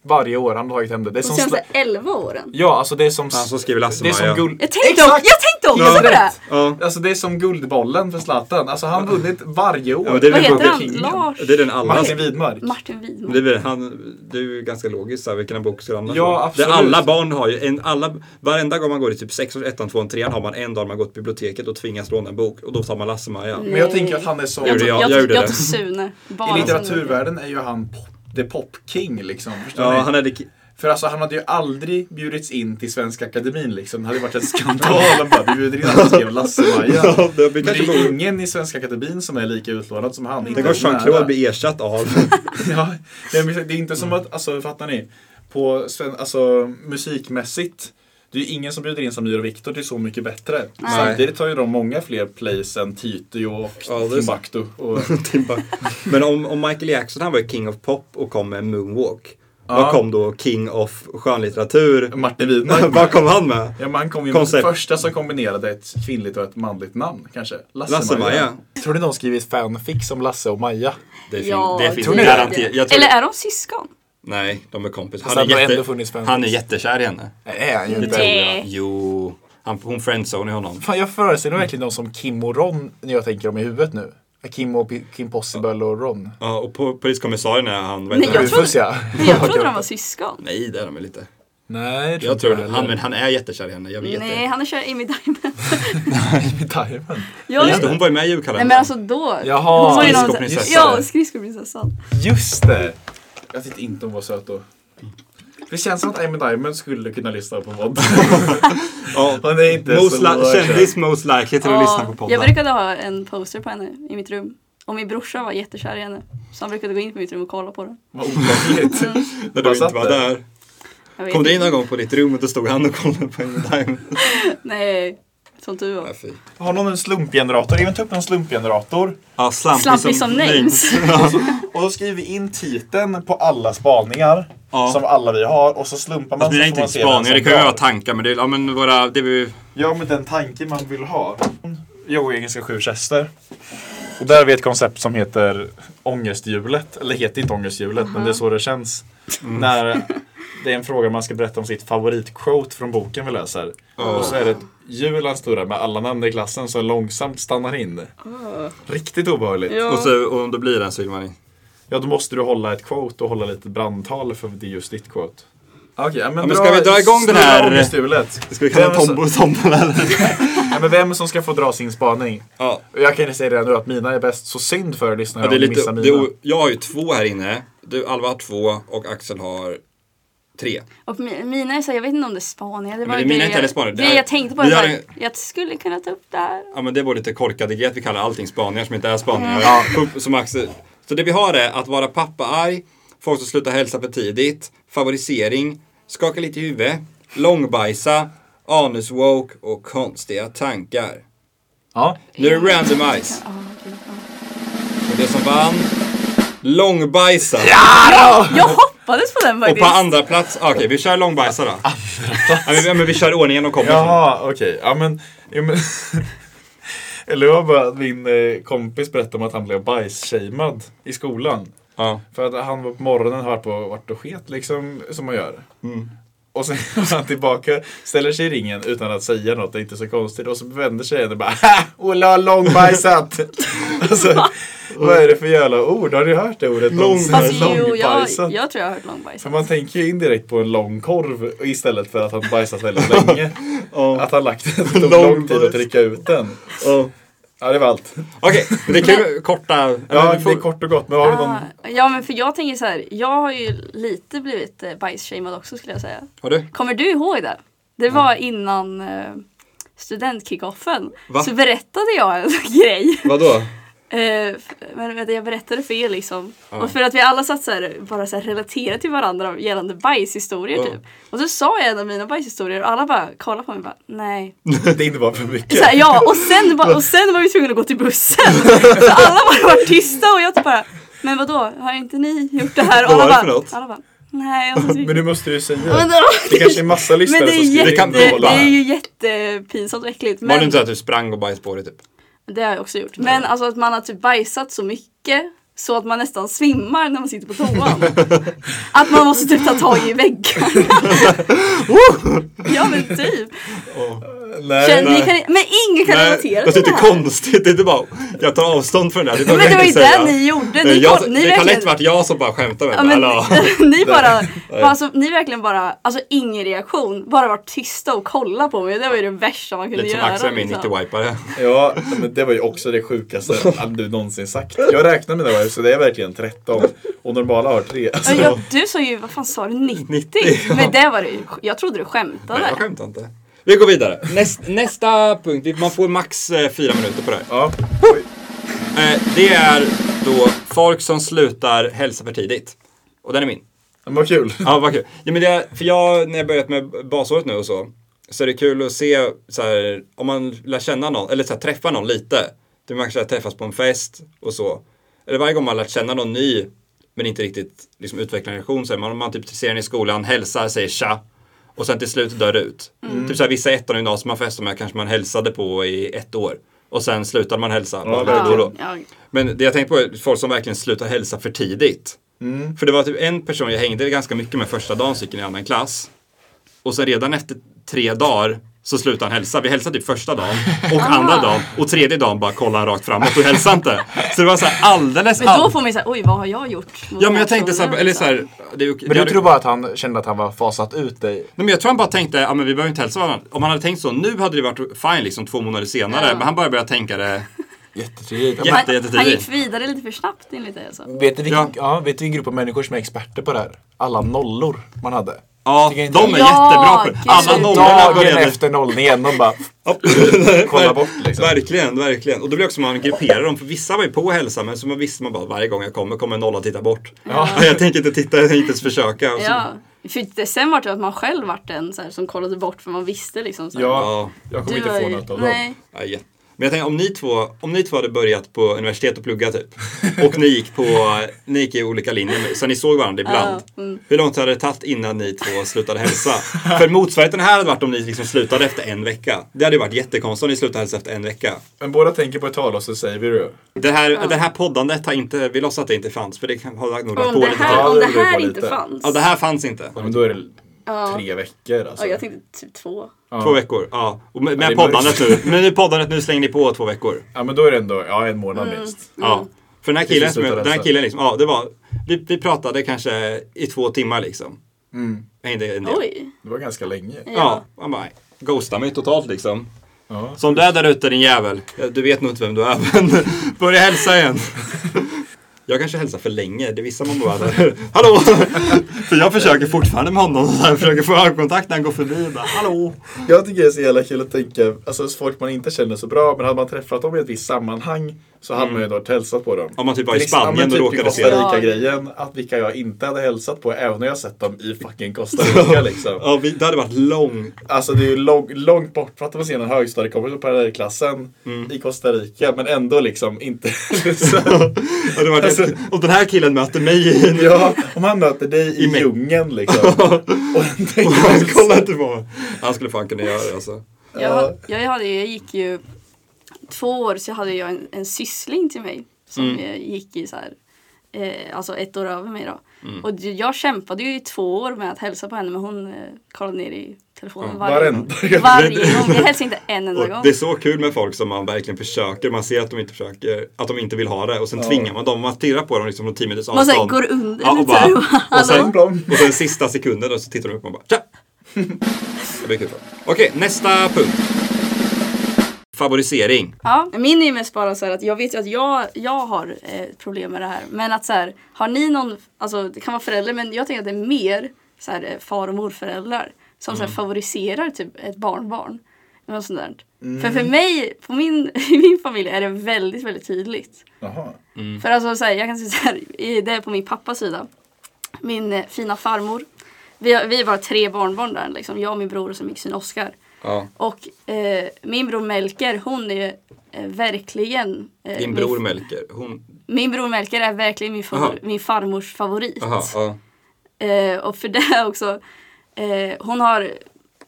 Speaker 3: Varje år han har tagit hem det. det är
Speaker 1: de
Speaker 3: som
Speaker 1: senaste
Speaker 3: sla-
Speaker 1: 11 åren.
Speaker 3: ja, alltså det är som...
Speaker 2: Han som skriver Lasse
Speaker 3: det är som
Speaker 2: Maja.
Speaker 3: guld...
Speaker 1: Jag tänkte, också- jag tänkte också på det!
Speaker 2: Ja.
Speaker 3: Alltså det är som guldbollen för Zlatan. Alltså han har vunnit varje år.
Speaker 2: Ja, men det är
Speaker 1: Vad
Speaker 2: väl
Speaker 1: heter
Speaker 2: Burger
Speaker 1: han?
Speaker 3: King.
Speaker 1: Lars?
Speaker 2: Det är den alla
Speaker 3: Martin Widmark.
Speaker 1: Martin Widman.
Speaker 2: Det är, väl han, det är ju ganska logiskt, så här, vilken bok skulle annars
Speaker 3: Ja,
Speaker 2: vara?
Speaker 3: absolut.
Speaker 2: Det alla barn har ju, en, alla, varenda gång man går i typ 6, 1, 2, 3 har man en dag man går till biblioteket och tvingas låna en bok och då tar man Lasse-Maja.
Speaker 1: Mm.
Speaker 3: Men jag tänker att han är
Speaker 1: Jag
Speaker 3: så...
Speaker 2: Gjorde
Speaker 1: tog,
Speaker 2: jag-
Speaker 1: jag,
Speaker 2: jag
Speaker 1: tog,
Speaker 2: gjorde
Speaker 1: jag
Speaker 2: det.
Speaker 1: tog Sune.
Speaker 3: I
Speaker 1: Bara
Speaker 3: litteraturvärlden är ju han pop, the popking liksom. Förstår
Speaker 2: Ja,
Speaker 3: ni?
Speaker 2: han är det,
Speaker 3: För alltså han hade ju aldrig bjudits in till Svenska Akademin liksom. Det hade ju varit en skandal om bara vi bjuder in han som skrev Lasse-Maja.
Speaker 2: ja, det blir
Speaker 3: Men
Speaker 2: kanske
Speaker 3: det är
Speaker 2: borde...
Speaker 3: ingen i Svenska Akademin som är lika utlånad som han. Inte
Speaker 2: Tänk om
Speaker 3: ens
Speaker 2: Jean-Claude
Speaker 3: nära.
Speaker 2: blir ersatt av...
Speaker 3: ja, det, är, det är inte som att, alltså fattar ni? På sven, alltså, musikmässigt, det är ju ingen som bjuder in Samir och Viktor till Så mycket bättre.
Speaker 1: Nej.
Speaker 3: Samtidigt har ju de många fler plays än Tito och
Speaker 2: Ja, det är så.
Speaker 3: Timbuktu. Och,
Speaker 2: Timbuktu. Men om, om Michael Jackson han var ju king of pop och kom med Moonwalk.
Speaker 3: Ja.
Speaker 6: Vad kom då King of skönlitteratur?
Speaker 2: Mm.
Speaker 3: Martin Widmark.
Speaker 6: Vad kom han med?
Speaker 3: Ja, man kom ju med den
Speaker 6: Koncept.
Speaker 3: första som kombinerade ett kvinnligt och ett manligt namn kanske.
Speaker 6: Lasse-Maja.
Speaker 3: Tror ni någon skrivit fanfic om Lasse och Maja?
Speaker 2: Det finns
Speaker 1: Ja,
Speaker 2: det finns
Speaker 3: tror ni det?
Speaker 2: garanterat. Jag tror
Speaker 1: Eller är de syskon?
Speaker 2: Nej, de är kompisar.
Speaker 3: Fast det har ändå funnits fanfics.
Speaker 2: han är jättekär i henne.
Speaker 3: Nej, det är han ju
Speaker 1: Nej.
Speaker 2: Jo, han, hon friendzone i honom.
Speaker 3: Fan, jag föreställer mig verkligen någon som Kim och Ron när jag tänker dem i huvudet nu. Kim och P- Kim Possible och Ron.
Speaker 2: Ja, och po- poliskommissarien är han... vad
Speaker 1: Nej,
Speaker 2: heter
Speaker 1: jag
Speaker 2: han?
Speaker 1: trodde-
Speaker 3: Rufus, ja.
Speaker 1: Nej, jag trodde de var syskon.
Speaker 2: Nej, det är de väl inte.
Speaker 3: Nej, det
Speaker 2: Jag tror
Speaker 3: inte
Speaker 2: det.
Speaker 3: heller.
Speaker 2: Han, men han är jättekär i henne, jag vet
Speaker 1: Nej,
Speaker 2: det.
Speaker 1: han är kär i Amy Diamond.
Speaker 3: Amy Diamond.
Speaker 1: Jag,
Speaker 2: Just det, hon var ju med i
Speaker 1: Nej
Speaker 2: julkalendern.
Speaker 1: men alltså då.
Speaker 3: Jaha,
Speaker 1: hon var ju någon-
Speaker 2: skridskoprinsessa.
Speaker 1: Ja, skridskoprinsessan.
Speaker 3: Just det! Jag tyckte inte hon var söt då. Det känns som att Amy Diamond skulle kunna lyssna på podd.
Speaker 6: Ja.
Speaker 3: Hon är inte
Speaker 6: Most
Speaker 3: så
Speaker 6: li- kändis most likely till att lyssna på podden.
Speaker 1: Jag brukade ha en poster på henne i mitt rum. Och min brorsa var jättekär i henne. Så han brukade gå in på mitt rum och kolla på den.
Speaker 3: Vad olagligt.
Speaker 2: När
Speaker 3: Bara
Speaker 2: du inte
Speaker 3: satt
Speaker 2: var
Speaker 3: där.
Speaker 2: där.
Speaker 1: Jag vet
Speaker 2: Kom du in
Speaker 1: inte.
Speaker 2: någon gång på ditt rum och då stod han och kollade på Amy Diamond?
Speaker 1: Nej, som tur var.
Speaker 2: Ja, fy.
Speaker 3: Har någon en slumpgenerator? Jag vill ta upp någon slumpgenerator.
Speaker 6: Ja, slampig
Speaker 1: Slampig
Speaker 2: liksom
Speaker 1: som names.
Speaker 3: Och då skriver vi in titeln på alla spaningar.
Speaker 6: Ja.
Speaker 3: Som alla vi har. Och så slumpar man
Speaker 2: Alltså, det är
Speaker 3: så får
Speaker 2: inte
Speaker 3: man
Speaker 2: riktigt
Speaker 3: se vem
Speaker 2: spaningar,
Speaker 3: som
Speaker 2: det kan ju
Speaker 3: drar.
Speaker 2: vara tankar men det är, ja, men våra, det är ju...
Speaker 3: Ja, men den tanke man vill ha. Jag och Engelska sju gäster. Och där har vi ett koncept som heter ångesthjulet. Eller heter inte ångesthjulet, men det är så det känns. När det är en fråga man ska berätta om sitt favoritquote från boken vi läser. Och så är det ett hjul han snurrar med alla namn i klassen som långsamt stannar in. Riktigt obehagligt.
Speaker 1: Ja.
Speaker 2: Och, så, och om det blir den så vill man in.
Speaker 3: Ja, då måste du hålla ett quote och hålla lite brandtal för det är just ditt quote. Okej, men,
Speaker 2: men ska vi dra igång den
Speaker 3: snurra
Speaker 2: här-
Speaker 3: ångesthjulet.
Speaker 6: Ska vi kalla
Speaker 3: Vem som-
Speaker 6: Tombo Tombola eller?
Speaker 3: Ja, men vem som ska få dra sin spaning?
Speaker 2: Ja.
Speaker 3: Och jag kan ju säga redan nu att mina är bäst, så synd för er lyssnare
Speaker 2: Ja, det är
Speaker 3: om ni missar
Speaker 2: lite,
Speaker 3: mina.
Speaker 2: det är, o- jag har ju två här inne. Du, Alva har två och Axel har tre.
Speaker 1: Och mi- mina är så här, jag vet inte om det är spaningar. Det var
Speaker 2: Men
Speaker 1: ju
Speaker 2: mina är
Speaker 1: det
Speaker 2: inte heller spaningar.
Speaker 1: jag,
Speaker 2: Det
Speaker 1: det
Speaker 2: är-
Speaker 1: jag tänkte på.
Speaker 2: vi
Speaker 1: Är så
Speaker 2: har
Speaker 1: här,
Speaker 2: en-
Speaker 1: jag skulle kunna ta upp det här.
Speaker 2: Ja men det är vår lite korkade grej att vi kallar allting spaningar som inte är spaningar. Ja. Som Axel. Så det vi har är att vara pappaarg, folk som slutar hälsa för tidigt, favorisering, skaka lite i huvudet, långbajsa, anuswoke och konstiga tankar.
Speaker 3: Ja.
Speaker 2: Nu är det randomize. Och det som vann, långbajsa.
Speaker 1: Jag hoppades på den
Speaker 2: Och
Speaker 1: faktiskt.
Speaker 2: på andra plats, Ah, okej vi kör långbajsa då. Andra plats? Ja, men vi kör ordningen och kommer.
Speaker 3: Jaha, okej. Ja, men... Ja, men Eller det var bara att min eh, kompis berättade om att han blev bajsshamead i skolan.
Speaker 2: Ja.
Speaker 3: För att han var på morgonen har varit på vart och sket liksom, som man gör.
Speaker 2: Mm.
Speaker 3: Och sen kommer han tillbaka, ställer sig i ringen utan att säga något, det är inte så konstigt. Och så vänder sig en och bara ha! Ola har långbajsat! alltså, vad är det för jävla ord? Har ni hört det ordet någonsin?
Speaker 1: Fast Alltså, jo, jag,
Speaker 3: Långbajsat.
Speaker 1: jag tror jag har hört långbajsat.
Speaker 3: För man tänker ju indirekt på en lång korv istället för att han bajsat väldigt länge. Att han lagt det tog
Speaker 6: Lång
Speaker 3: lång tid att
Speaker 6: bajs.
Speaker 3: trycka ut den.
Speaker 6: Ja.
Speaker 3: Ja, det var allt.
Speaker 2: Okej, det är kul korta...
Speaker 3: Ja,
Speaker 2: vi
Speaker 3: det är kort och gott. Men har du någon...
Speaker 1: Ah, ja men för jag tänker så här, jag har ju lite blivit eh, bajsshamead också skulle jag säga.
Speaker 2: Har du?
Speaker 1: Kommer du ihåg det? Det var innan eh, studentkickoffen.
Speaker 2: Va?
Speaker 1: Så berättade jag en grej.
Speaker 2: Vadå?
Speaker 1: Eh, f- men vänta, jag berättade för er liksom. Och för att vi alla satt så här, bara så här, relaterade till varandra gällande bajshistorier
Speaker 2: Ja.
Speaker 1: typ. Och så sa jag en av mina bajshistorier och alla bara kollade på mig och bara nej.
Speaker 3: Det innebar för mycket.
Speaker 1: Så här, ja, och sen, bara, och sen var vi tvungna att gå till bussen. Så alla bara var tysta och jag typ bara men vadå, har inte ni gjort det här? Och
Speaker 6: Vad
Speaker 1: alla
Speaker 6: var det för
Speaker 1: bara,
Speaker 6: något?
Speaker 1: alla bara nej. Och så, typ.
Speaker 3: Men nu måste du
Speaker 1: Men
Speaker 3: säga.
Speaker 1: då-
Speaker 3: Det kanske är massa lyssnare
Speaker 1: men det är,
Speaker 3: som
Speaker 1: jätte,
Speaker 3: skriver
Speaker 1: det,
Speaker 2: kan
Speaker 1: det,
Speaker 2: båda.
Speaker 1: är ju jättepinsamt och äckligt.
Speaker 2: Var det
Speaker 1: Men
Speaker 2: inte så att du sprang och bajsade på dig typ?
Speaker 1: det har jag också gjort. Men alltså att man har typ bajsat så mycket så att man nästan svimmar när man sitter på toan. att man måste typ ta tag i väggarna. ja men typ.
Speaker 3: Nej,
Speaker 1: Känn,
Speaker 3: nej.
Speaker 1: ni kan, men ingen kan relatera till
Speaker 2: jag
Speaker 1: det
Speaker 2: tyckte alltså, det är
Speaker 1: här.
Speaker 2: konstigt. Det är inte bara, jag tar avstånd från det här. Det,
Speaker 1: Men
Speaker 2: kan
Speaker 1: det var
Speaker 2: jag
Speaker 1: ju
Speaker 2: inte
Speaker 1: det
Speaker 2: säga.
Speaker 1: ni gjorde.
Speaker 2: Nej,
Speaker 1: Ni
Speaker 2: jag,
Speaker 1: kom, ni
Speaker 2: det kan lätt
Speaker 1: verkligen,
Speaker 2: varit jag som bara skämtar med
Speaker 1: ja,
Speaker 2: mig.
Speaker 1: men,
Speaker 2: Hallå.
Speaker 1: ni bara, bara alltså, ni verkligen bara, alltså ingen reaktion. Bara varit tysta och kolla på mig. Det var ju det värsta man kunde
Speaker 2: Lite som
Speaker 1: göra.
Speaker 2: Axel min
Speaker 1: liksom.
Speaker 2: 90-wipare.
Speaker 3: Ja, men det var ju också det sjukaste att du någonsin sagt. Jag räknar mina varv så det är verkligen 13. Och normala har tre. Alltså,
Speaker 1: Men jag, du sa ju, vad fan sa du, 90? Men det var det ju, jag trodde du skämtade.
Speaker 2: Nej, jag skämtar inte. Vi går vidare. Näst, nästa punkt, man får max eh, fyra minuter på det här.
Speaker 3: ja.
Speaker 2: Eh, det är då folk som slutar hälsa för tidigt. Och den är min.
Speaker 3: Men vad kul.
Speaker 2: Ja, vad kul. Ja, men det, för jag, när jag börjat med basåret nu och så, så är det kul att se så här, om man lär känna någon, eller så här, träffa någon lite. Det man kanske har träffats på en fest och så. Eller varje gång man har lärt känna någon ny men inte riktigt liksom, utvecklar en relation. Så här, man, man typ ser den i skolan, hälsar, säger tja och sen till slut dör det ut. Typ så här, vissa i ettan i gymnasiet man festar med kanske man hälsade på i ett år och sen slutade man hälsa. bara lite då och då.
Speaker 1: Ja.
Speaker 2: Men det jag tänkte på är folk som verkligen slutar hälsa för tidigt.
Speaker 7: Mm.
Speaker 2: För det var typ en person jag hängde ganska mycket med första dagen så gick jag i annan klass. Och sen redan efter tre dagar så slutade han hälsa. Vi hälsade typ första dagen och andra
Speaker 1: Ah.
Speaker 2: dagen och tredje dagen bara kollade han rakt framåt och hälsade inte. Så det var så här alldeles...
Speaker 1: Men då
Speaker 2: all-
Speaker 1: får man ju såhär, oj vad har jag gjort? mot
Speaker 2: Ja men
Speaker 1: den
Speaker 2: jag tänkte så här,
Speaker 1: personen,
Speaker 2: eller så
Speaker 1: liksom?
Speaker 2: här, det, är okej.
Speaker 7: Men
Speaker 2: Det
Speaker 7: du
Speaker 2: hade-
Speaker 7: tror bara att han kände att han var fasat ut dig?
Speaker 2: Nej, men jag tror han bara tänkte, ja men vi behöver inte hälsa varandra. Om han hade tänkt så nu hade det varit fine liksom två månader senare.
Speaker 1: Ja.
Speaker 2: Men han bara började tänka det
Speaker 7: Jättetrevligt.
Speaker 2: jätte,
Speaker 1: han, han
Speaker 2: jättetidigt.
Speaker 1: gick vidare lite för snabbt enligt det
Speaker 2: Mm.
Speaker 1: alltså.
Speaker 7: Vet du vilken,
Speaker 2: Ja.
Speaker 7: ja. vet du vilken grupp av människor som är experter på det här? Alla nollor man hade.
Speaker 2: Ja,
Speaker 7: Tycker
Speaker 2: de är
Speaker 7: jag inte-
Speaker 2: jättebra
Speaker 1: Ja,
Speaker 2: på
Speaker 1: gud.
Speaker 2: Alla nollorna
Speaker 7: Dagen
Speaker 2: började
Speaker 7: efter nollningen, de bara
Speaker 2: Ver-
Speaker 7: kollar bort liksom.
Speaker 2: Verkligen, verkligen. Och då blir det också man grupperar dem. För vissa var ju på hälsa men så man visste man bara varje gång jag kommer kommer en nolla titta bort. Ja. Jag tänker inte titta, jag tänker inte ens försöka. Och så,
Speaker 1: Ja. För det, sen var det att man själv vart den så här, som kollade bort för man visste liksom. Så här,
Speaker 2: ja.
Speaker 3: Jag
Speaker 1: du
Speaker 3: kommer inte
Speaker 1: har
Speaker 3: få
Speaker 1: ju-
Speaker 3: något av dem.
Speaker 1: Nej.
Speaker 2: Ja, ja. Men jag tänker om ni, två, om ni två hade börjat på universitet och plugga typ. Och ni gick, på, ni gick i olika linjer så ni såg varandra ibland.
Speaker 1: Ja, mm.
Speaker 2: Hur långt hade det tagit innan ni två slutade hälsa? För motsvarigheten här hade varit om ni liksom slutade efter en vecka. Det hade ju varit jättekonstigt om ni slutade hälsa efter en vecka.
Speaker 3: Men båda tänker på ett tal och så säger vi det.
Speaker 2: Det här, det här poddandet har inte, vi låtsas att det inte fanns för det kan, har nog lagt
Speaker 1: Om det
Speaker 2: på lite till.
Speaker 1: här, om
Speaker 3: det
Speaker 1: det
Speaker 3: beror
Speaker 1: här
Speaker 3: på
Speaker 1: inte
Speaker 3: lite.
Speaker 1: fanns.
Speaker 2: Ja, det här fanns inte.
Speaker 3: Ja, men då är det
Speaker 1: Ja.
Speaker 3: tre veckor alltså.
Speaker 1: Ja, jag tänkte typ två.
Speaker 2: Två veckor, ja. Och med,
Speaker 3: Ja, det
Speaker 2: med
Speaker 3: är
Speaker 2: poddandet nu. Men nu poddandet, nu slänger ni på två veckor.
Speaker 3: Ja men då är det ändå, ja en månad
Speaker 1: Mm.
Speaker 3: minst.
Speaker 2: Ja. För den här
Speaker 3: Tills vi
Speaker 2: killen, som,
Speaker 3: slutar
Speaker 2: jag- den här
Speaker 3: läsa.
Speaker 2: killen liksom, ja det var, vi, vi pratade kanske i två timmar liksom. Hängde en del.
Speaker 1: Oj.
Speaker 3: Det var ganska länge.
Speaker 2: Ja, han bara, nej. Ghostar mig totalt liksom.
Speaker 3: Ja.
Speaker 2: Så om du är där ute din jävel, ja, du vet nog inte vem du är men börja hälsa igen. Jag kanske hälsar för länge, det är vissa man bara där. Hallå! För jag försöker fortfarande med honom, jag försöker få ögonkontakt när han går förbi. Bara, Hallå!
Speaker 3: Jag tycker det är så jävla kul att tänka, alltså folk man inte känner så bra, men hade man träffat dem i ett visst sammanhang så hade man ju då hälsat på dem.
Speaker 2: Mm. Om man typ var i
Speaker 3: Till exempel,
Speaker 2: Spanien och
Speaker 3: typ
Speaker 2: råkade
Speaker 3: Costa
Speaker 2: se det.
Speaker 3: Rica-grejen, att vilka jag inte hade hälsat på även om jag sett dem i fucking Costa Rica liksom.
Speaker 2: Ja, vi, det hade varit lång
Speaker 3: Alltså det är ju lång, långt bort för att man ser en högstadiekompis på parallellklassen
Speaker 2: Mm.
Speaker 3: i Costa Rica men ändå liksom inte. så,
Speaker 2: Ja, det var det.
Speaker 3: Alltså-
Speaker 2: och den här killen möter mig i en...
Speaker 3: ja, om han möter dig i,
Speaker 2: I mig.
Speaker 3: djungeln liksom. och han tänker,
Speaker 2: Och han kollar inte på mig. Han skulle fan kunna göra det alltså.
Speaker 1: Jag, jag, hade, jag gick ju två år så hade jag en, en syssling till mig som
Speaker 2: Mm.
Speaker 1: eh, gick i så här, eh, alltså ett år över mig då.
Speaker 2: Mm.
Speaker 1: Och jag kämpade ju i två år med att hälsa på henne men hon eh, kollade ner i telefonen varje gång.
Speaker 3: varenda gång.
Speaker 1: Varje gång. Jag hälsade inte en enda
Speaker 2: Och
Speaker 1: gång.
Speaker 2: det är så kul med folk som man verkligen försöker. Man ser att de inte försöker, att de inte vill ha det. Och sen tvingar man dem. Man stirrar på dem liksom på 10 minuters
Speaker 1: Man
Speaker 2: avstånd.
Speaker 1: så här går under
Speaker 2: Ja, och,
Speaker 1: lite.
Speaker 2: bara,
Speaker 1: Hallå?
Speaker 2: och, sen,
Speaker 3: Blom.
Speaker 2: och sen sista sekunden då så tittar de upp och bara tja! Det blir kul. för dem. Okej, nästa punkt. Favorisering.
Speaker 1: Ja, min är ju mest bara så här att jag vet ju att jag, jag har eh, problem med det här. Men att så här, har ni någon, alltså det kan vara föräldrar men jag tänker att det är mer så här, eh, far och morföräldrar som så här, favoriserar typ ett barnbarn. Eller något sånt där. För för mig, på min, i min familj är det väldigt, väldigt tydligt.
Speaker 3: Jaha.
Speaker 1: För alltså så här, jag kan säga så här, i- det är på min pappas sida. Min eh, fina farmor. Vi, har- vi är bara tre barnbarn där liksom. Jag, min bror och så min kusin Oskar.
Speaker 2: Ja.
Speaker 1: Och eh, min bror Melker, hon är ju eh, verkligen... Eh,
Speaker 2: Din bror Melker. Hon...
Speaker 1: Min, min bror Melker är verkligen min,
Speaker 2: Aha.
Speaker 1: favor, min farmors favorit.
Speaker 2: Aha, ja.
Speaker 1: Eh, och för det också, eh, hon har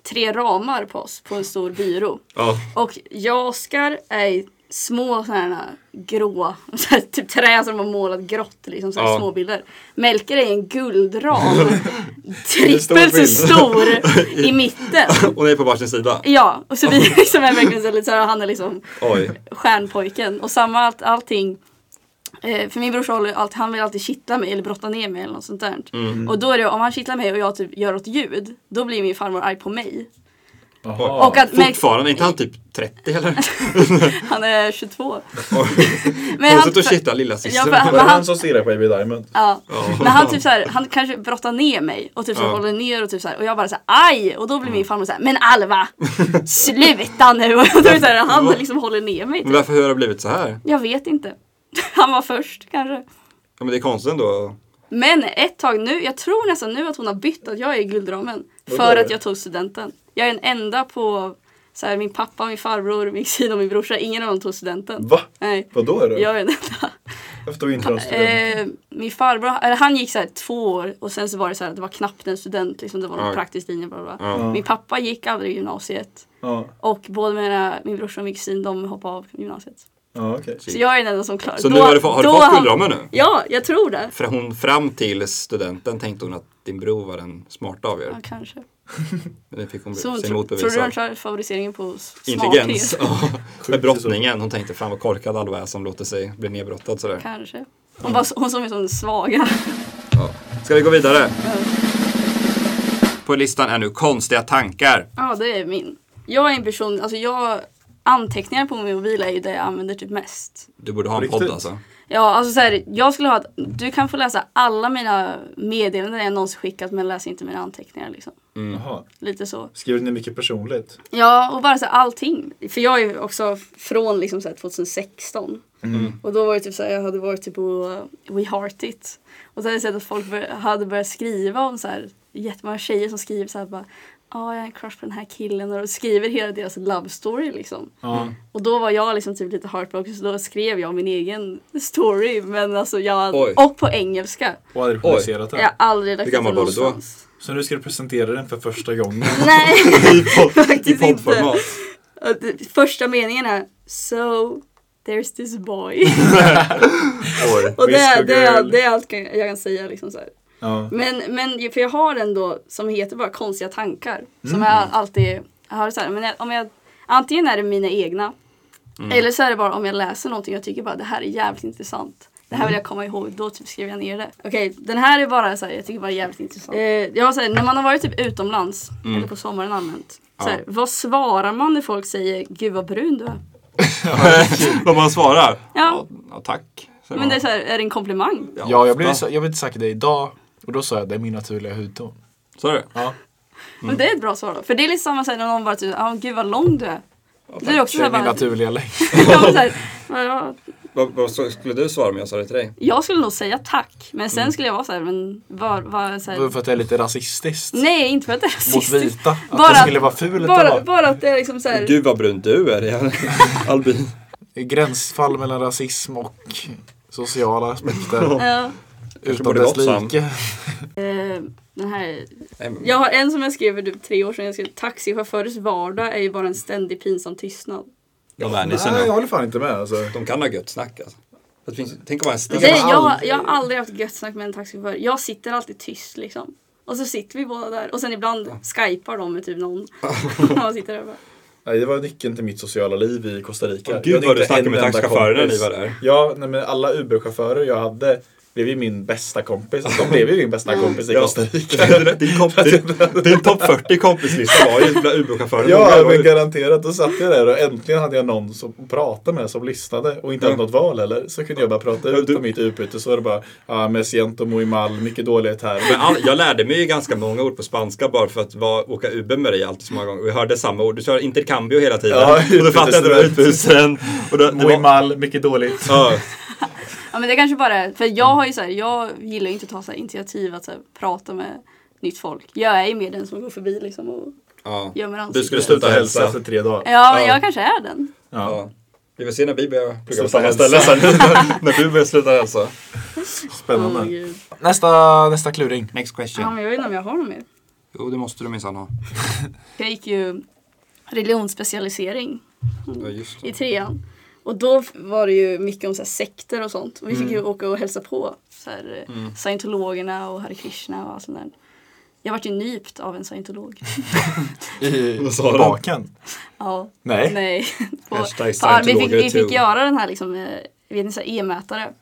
Speaker 1: tre ramar på oss på en stor byrå.
Speaker 2: ja.
Speaker 1: Och jag och Oskar är i små sådana grå, så här, typ trä som har målat grått liksom, så här
Speaker 2: Ja.
Speaker 1: små bilder. Melker är i en guldram,
Speaker 2: stor
Speaker 1: trippelt så
Speaker 2: bild.
Speaker 1: stor i mitten.
Speaker 2: Och ni är på varsin sida.
Speaker 1: Ja, och så vi liksom är verkligen så lite så här, han är liksom
Speaker 2: Oj.
Speaker 1: stjärnpojken. Och samma allt, allting. Eh, för min brorsa håller ju alltid, han vill alltid kittla mig eller brotta ner mig eller något sånt där.
Speaker 2: Mm.
Speaker 1: Och då är det om han kittlar mig och jag typ gör något ljud, då blir min farmor arg på mig.
Speaker 3: Jaha.
Speaker 1: Och att Melker-
Speaker 2: Fortfarande, är inte han typ 30 eller?
Speaker 1: Han är 22.
Speaker 2: Hon
Speaker 1: Men
Speaker 2: sitter och kittlar lilla
Speaker 1: ja,
Speaker 2: syster.
Speaker 1: för, men
Speaker 3: Var det
Speaker 1: han,
Speaker 3: han som stirrade på Amy Diamond?
Speaker 1: ja. Men han typ så här, han kanske brottar ner mig och typ så
Speaker 2: Ja. Mm.
Speaker 1: håller ner och typ så här, och jag bara så här, aj! Och då blir min farmor så här, men Alva! sluta nu! Och då är det så här, han liksom håller ner mig.
Speaker 2: Men
Speaker 1: Typ.
Speaker 2: varför har det blivit så här?
Speaker 1: Jag vet inte. Han var först kanske.
Speaker 2: Ja, men det är konstigt ändå.
Speaker 1: Men ett tag nu, jag tror nästan nu att hon har bytt att jag är i guldramen. För
Speaker 3: Vadå?
Speaker 1: att jag tog studenten. Jag är den enda på så här, min pappa, min farbror, min kusin och min brorsa. Ingen av dem tog studenten.
Speaker 3: Va?
Speaker 1: Nej,
Speaker 3: Vadå är det?
Speaker 1: jag är den enda.
Speaker 8: efter inte en student?
Speaker 1: Eh, min farbror, eller han gick så här två år och sen så var det så här att det var knappt en student. Liksom, det var någon
Speaker 2: Ja.
Speaker 1: praktisk linje. Bla bla. bla.
Speaker 2: Ja.
Speaker 1: Min pappa gick aldrig gymnasiet.
Speaker 8: Ja,
Speaker 1: Och både mina, min brorsa och min kusin de hoppade av gymnasiet.
Speaker 8: ja okej.
Speaker 1: Så jag är den enda som klarar
Speaker 2: Så nu har du, fått- har du
Speaker 1: då
Speaker 2: fått
Speaker 1: han-
Speaker 2: guldrammen nu?
Speaker 1: Ja, jag tror det.
Speaker 2: För hon fram till studenten tänkte hon att din bror var den smarta av
Speaker 1: Ja,
Speaker 2: er.
Speaker 1: kanske.
Speaker 2: Men det fick hon
Speaker 1: Så
Speaker 2: sig
Speaker 1: tro, tror du de
Speaker 2: motbevisad.
Speaker 1: kör favoriseringen på s-
Speaker 2: Intelligens.
Speaker 1: smarthet?
Speaker 2: Ja. Med brottningen. Hon tänkte fan vad korkad alla är som låter sig bli nedbrottad sådär.
Speaker 1: Kanske. Hon, bara, hon som är som den svaga.
Speaker 2: Ja. Ska vi gå vidare? På listan är nu konstiga tankar.
Speaker 1: Ja, det är min. Jag är en person, alltså jag, anteckningar på min mobil är ju det jag använder typ mest.
Speaker 2: Du borde ha en
Speaker 8: Riktigt?
Speaker 2: podd alltså.
Speaker 1: Ja, alltså så här, jag skulle ha att du kan få läsa alla mina meddelanden jag någonsin skickat men läs inte mina anteckningar liksom.
Speaker 7: Mm.
Speaker 8: Jaha.
Speaker 1: Lite så.
Speaker 8: Skriver ni mycket personligt?
Speaker 1: Ja, och bara så här, allting. För jag är ju också från liksom så här 2016. Och då var det typ så här, jag hade varit typ på We Heart It. Och så hade jag sett att folk bör- hade börjat skriva om så här jättemånga tjejer som skriver så här bara Ja, jag har en crush på den här killen och de skriver hela deras love story liksom.
Speaker 8: Ja.
Speaker 1: Och då var jag liksom typ lite heartbroken så då skrev jag min egen story men alltså jag,
Speaker 2: Oj.
Speaker 1: och på engelska.
Speaker 8: Och aldrig publicerat
Speaker 1: Jag har
Speaker 8: den?
Speaker 1: aldrig lagt
Speaker 2: Hur gammal
Speaker 1: ut det
Speaker 2: var du då?
Speaker 1: någonstans.
Speaker 8: Så nu ska du presentera den för första gången?
Speaker 1: Nej,
Speaker 2: I
Speaker 1: faktiskt inte.
Speaker 2: poddformat.
Speaker 1: Och det- Första meningen är So there's this boy. och det, är- det, är- det är allt kan- jag kan säga. Liksom så här.
Speaker 8: Ja.
Speaker 1: Men, men ju- för jag har en då som heter bara konstiga tankar. Som jag alltid jag har så här, men jag, om jag, antingen är det mina egna. Eller så är det bara om jag läser någonting och jag tycker bara det här är jävligt intressant. Det här vill jag komma ihåg, då typ skriver jag ner det. Okej, den här är bara så här, jag tycker bara det är jävligt intressant. Eh, jag har så här, när man har varit typ utomlands, eller på sommaren allmänt. Så här, Vad svarar man när folk säger gud vad brun du är?
Speaker 2: Vad man svarar?
Speaker 1: Ja,
Speaker 2: Ja, tack. säger
Speaker 1: men det är
Speaker 2: man.
Speaker 1: så här, är det en komplimang?
Speaker 7: Ja, jag
Speaker 2: ofta.
Speaker 7: blev, så, jag blev tackad det idag och då sa jag det är min naturliga hudton.
Speaker 2: Så är det.
Speaker 1: Men det är ett bra svar då. För det är lite samma sak när någon bara typ, ah, gud vad lång du är. det är också
Speaker 7: Det
Speaker 1: såhär
Speaker 7: är min
Speaker 1: bara,
Speaker 7: naturliga längd.
Speaker 1: ja, men så här, "Ja, ja."
Speaker 2: Vad, vad skulle du svara om jag sa det till dig?
Speaker 1: jag skulle nog säga tack. Men
Speaker 7: Mm.
Speaker 1: sen skulle jag vara såhär, men var, var så här,
Speaker 7: För att det är lite rasistiskt.
Speaker 1: Nej, inte för att det
Speaker 7: Mot
Speaker 1: är rasistiskt.
Speaker 7: vita. Att
Speaker 1: Bara-
Speaker 7: det skulle vara fult att
Speaker 1: Bara,
Speaker 7: vara.
Speaker 1: bara att det är liksom såhär,
Speaker 2: Gud vad brun du är, Albin.
Speaker 7: Gränsfall mellan rasism och sociala aspekter.
Speaker 1: ja.
Speaker 7: utan
Speaker 2: borde
Speaker 7: dess
Speaker 2: gått sam.
Speaker 7: like.
Speaker 1: Eh, den här.
Speaker 2: Nej, men-
Speaker 1: Jag har en som jag skrev för typ tre år sedan. Jag skrev, Taxichaufförers vardag är ju bara en ständig pinsam tystnad.
Speaker 2: De värnisen
Speaker 8: Nej, jag håller fan inte med alltså.
Speaker 2: De kan ha gött snack alltså. Det finns, tänk om man
Speaker 1: Det,
Speaker 2: stel.
Speaker 1: jag, jag har aldrig haft gött snack med en taxichaufför. Jag sitter alltid tyst liksom. Och så sitter vi båda där. Och sen ibland skypar de med typ någon. Man sitter där och bara.
Speaker 8: Nej, det var nyckeln till mitt sociala liv i Costa Rica.
Speaker 2: Åh, gud,
Speaker 8: Jag
Speaker 2: vad
Speaker 8: tänkte
Speaker 2: du snackade
Speaker 8: en
Speaker 2: med
Speaker 8: enda
Speaker 2: taxichaufförer när ni
Speaker 8: kompis.
Speaker 2: var där.
Speaker 8: Ja, nej, men alla Uber-chaufförer jag hade blev ju min bästa kompis. De blev ju min bästa kompis i Costa Rica.
Speaker 2: Din, komp- din, din topp 40 kompislista var ju bland Uber-chauffören.
Speaker 8: Ja, men garanterat. Då satt jag där och äntligen hade jag någon som att prata med som lyssnade och inte hade något val heller. Så kunde jag bara prata ut om mitt utbyte. Så var det bara, ah, me siento muy mal, mycket dåliga termer.
Speaker 2: Men all, jag lärde mig ju ganska många ord på spanska bara för att vara, åka Uber med dig alltid så många gånger. Och jag hörde samma ord. Du kör intercambio hela tiden.
Speaker 8: Ja,
Speaker 2: och då fattade jag att det var utbudsren. Och det, det
Speaker 8: Muy
Speaker 2: var,
Speaker 8: mal, mycket dåligt.
Speaker 2: ja,
Speaker 1: Ja men det kanske bara är. För jag har ju så här, jag gillar ju inte att ta så här initiativ att så här, prata med nytt folk. Jag är ju mer den som går förbi liksom och
Speaker 2: ja.
Speaker 1: gömmer ansiktet.
Speaker 2: Du skulle sluta hälsa.
Speaker 8: efter tre dagar.
Speaker 1: Ja men jag kanske är den.
Speaker 2: Ja. Vi får se när vi börjar plugga
Speaker 8: Sluta
Speaker 2: på samma
Speaker 8: hälsa.
Speaker 2: ställe sen. när, när du börjar sluta hälsa.
Speaker 1: Åh,
Speaker 8: Spännande.
Speaker 1: gud.
Speaker 7: Nästa, nästa kluring.
Speaker 2: Next
Speaker 1: Ja
Speaker 2: question.
Speaker 1: men jag vet inte om jag har något mer.
Speaker 2: Jo, det måste du minsann ha.
Speaker 1: Jag gick ju religionsspecialisering
Speaker 2: Ja, just det.
Speaker 1: i trean. Och då var det ju mycket om så här sekter och sånt. Och vi fick ju åka och hälsa på så här, eh, scientologerna och Hare Krishna och allt sånt där. Jag vart ju nypt av en scientolog.
Speaker 7: I
Speaker 2: Vad sa de?
Speaker 7: baken.
Speaker 1: ja.
Speaker 7: Nej.
Speaker 1: Nej. på,
Speaker 2: Hashtag
Speaker 1: på, ar- vi, fick,
Speaker 2: scientologer
Speaker 1: vi fick
Speaker 2: too.
Speaker 1: göra den här liksom, eh, vet ni, så här e-mätare.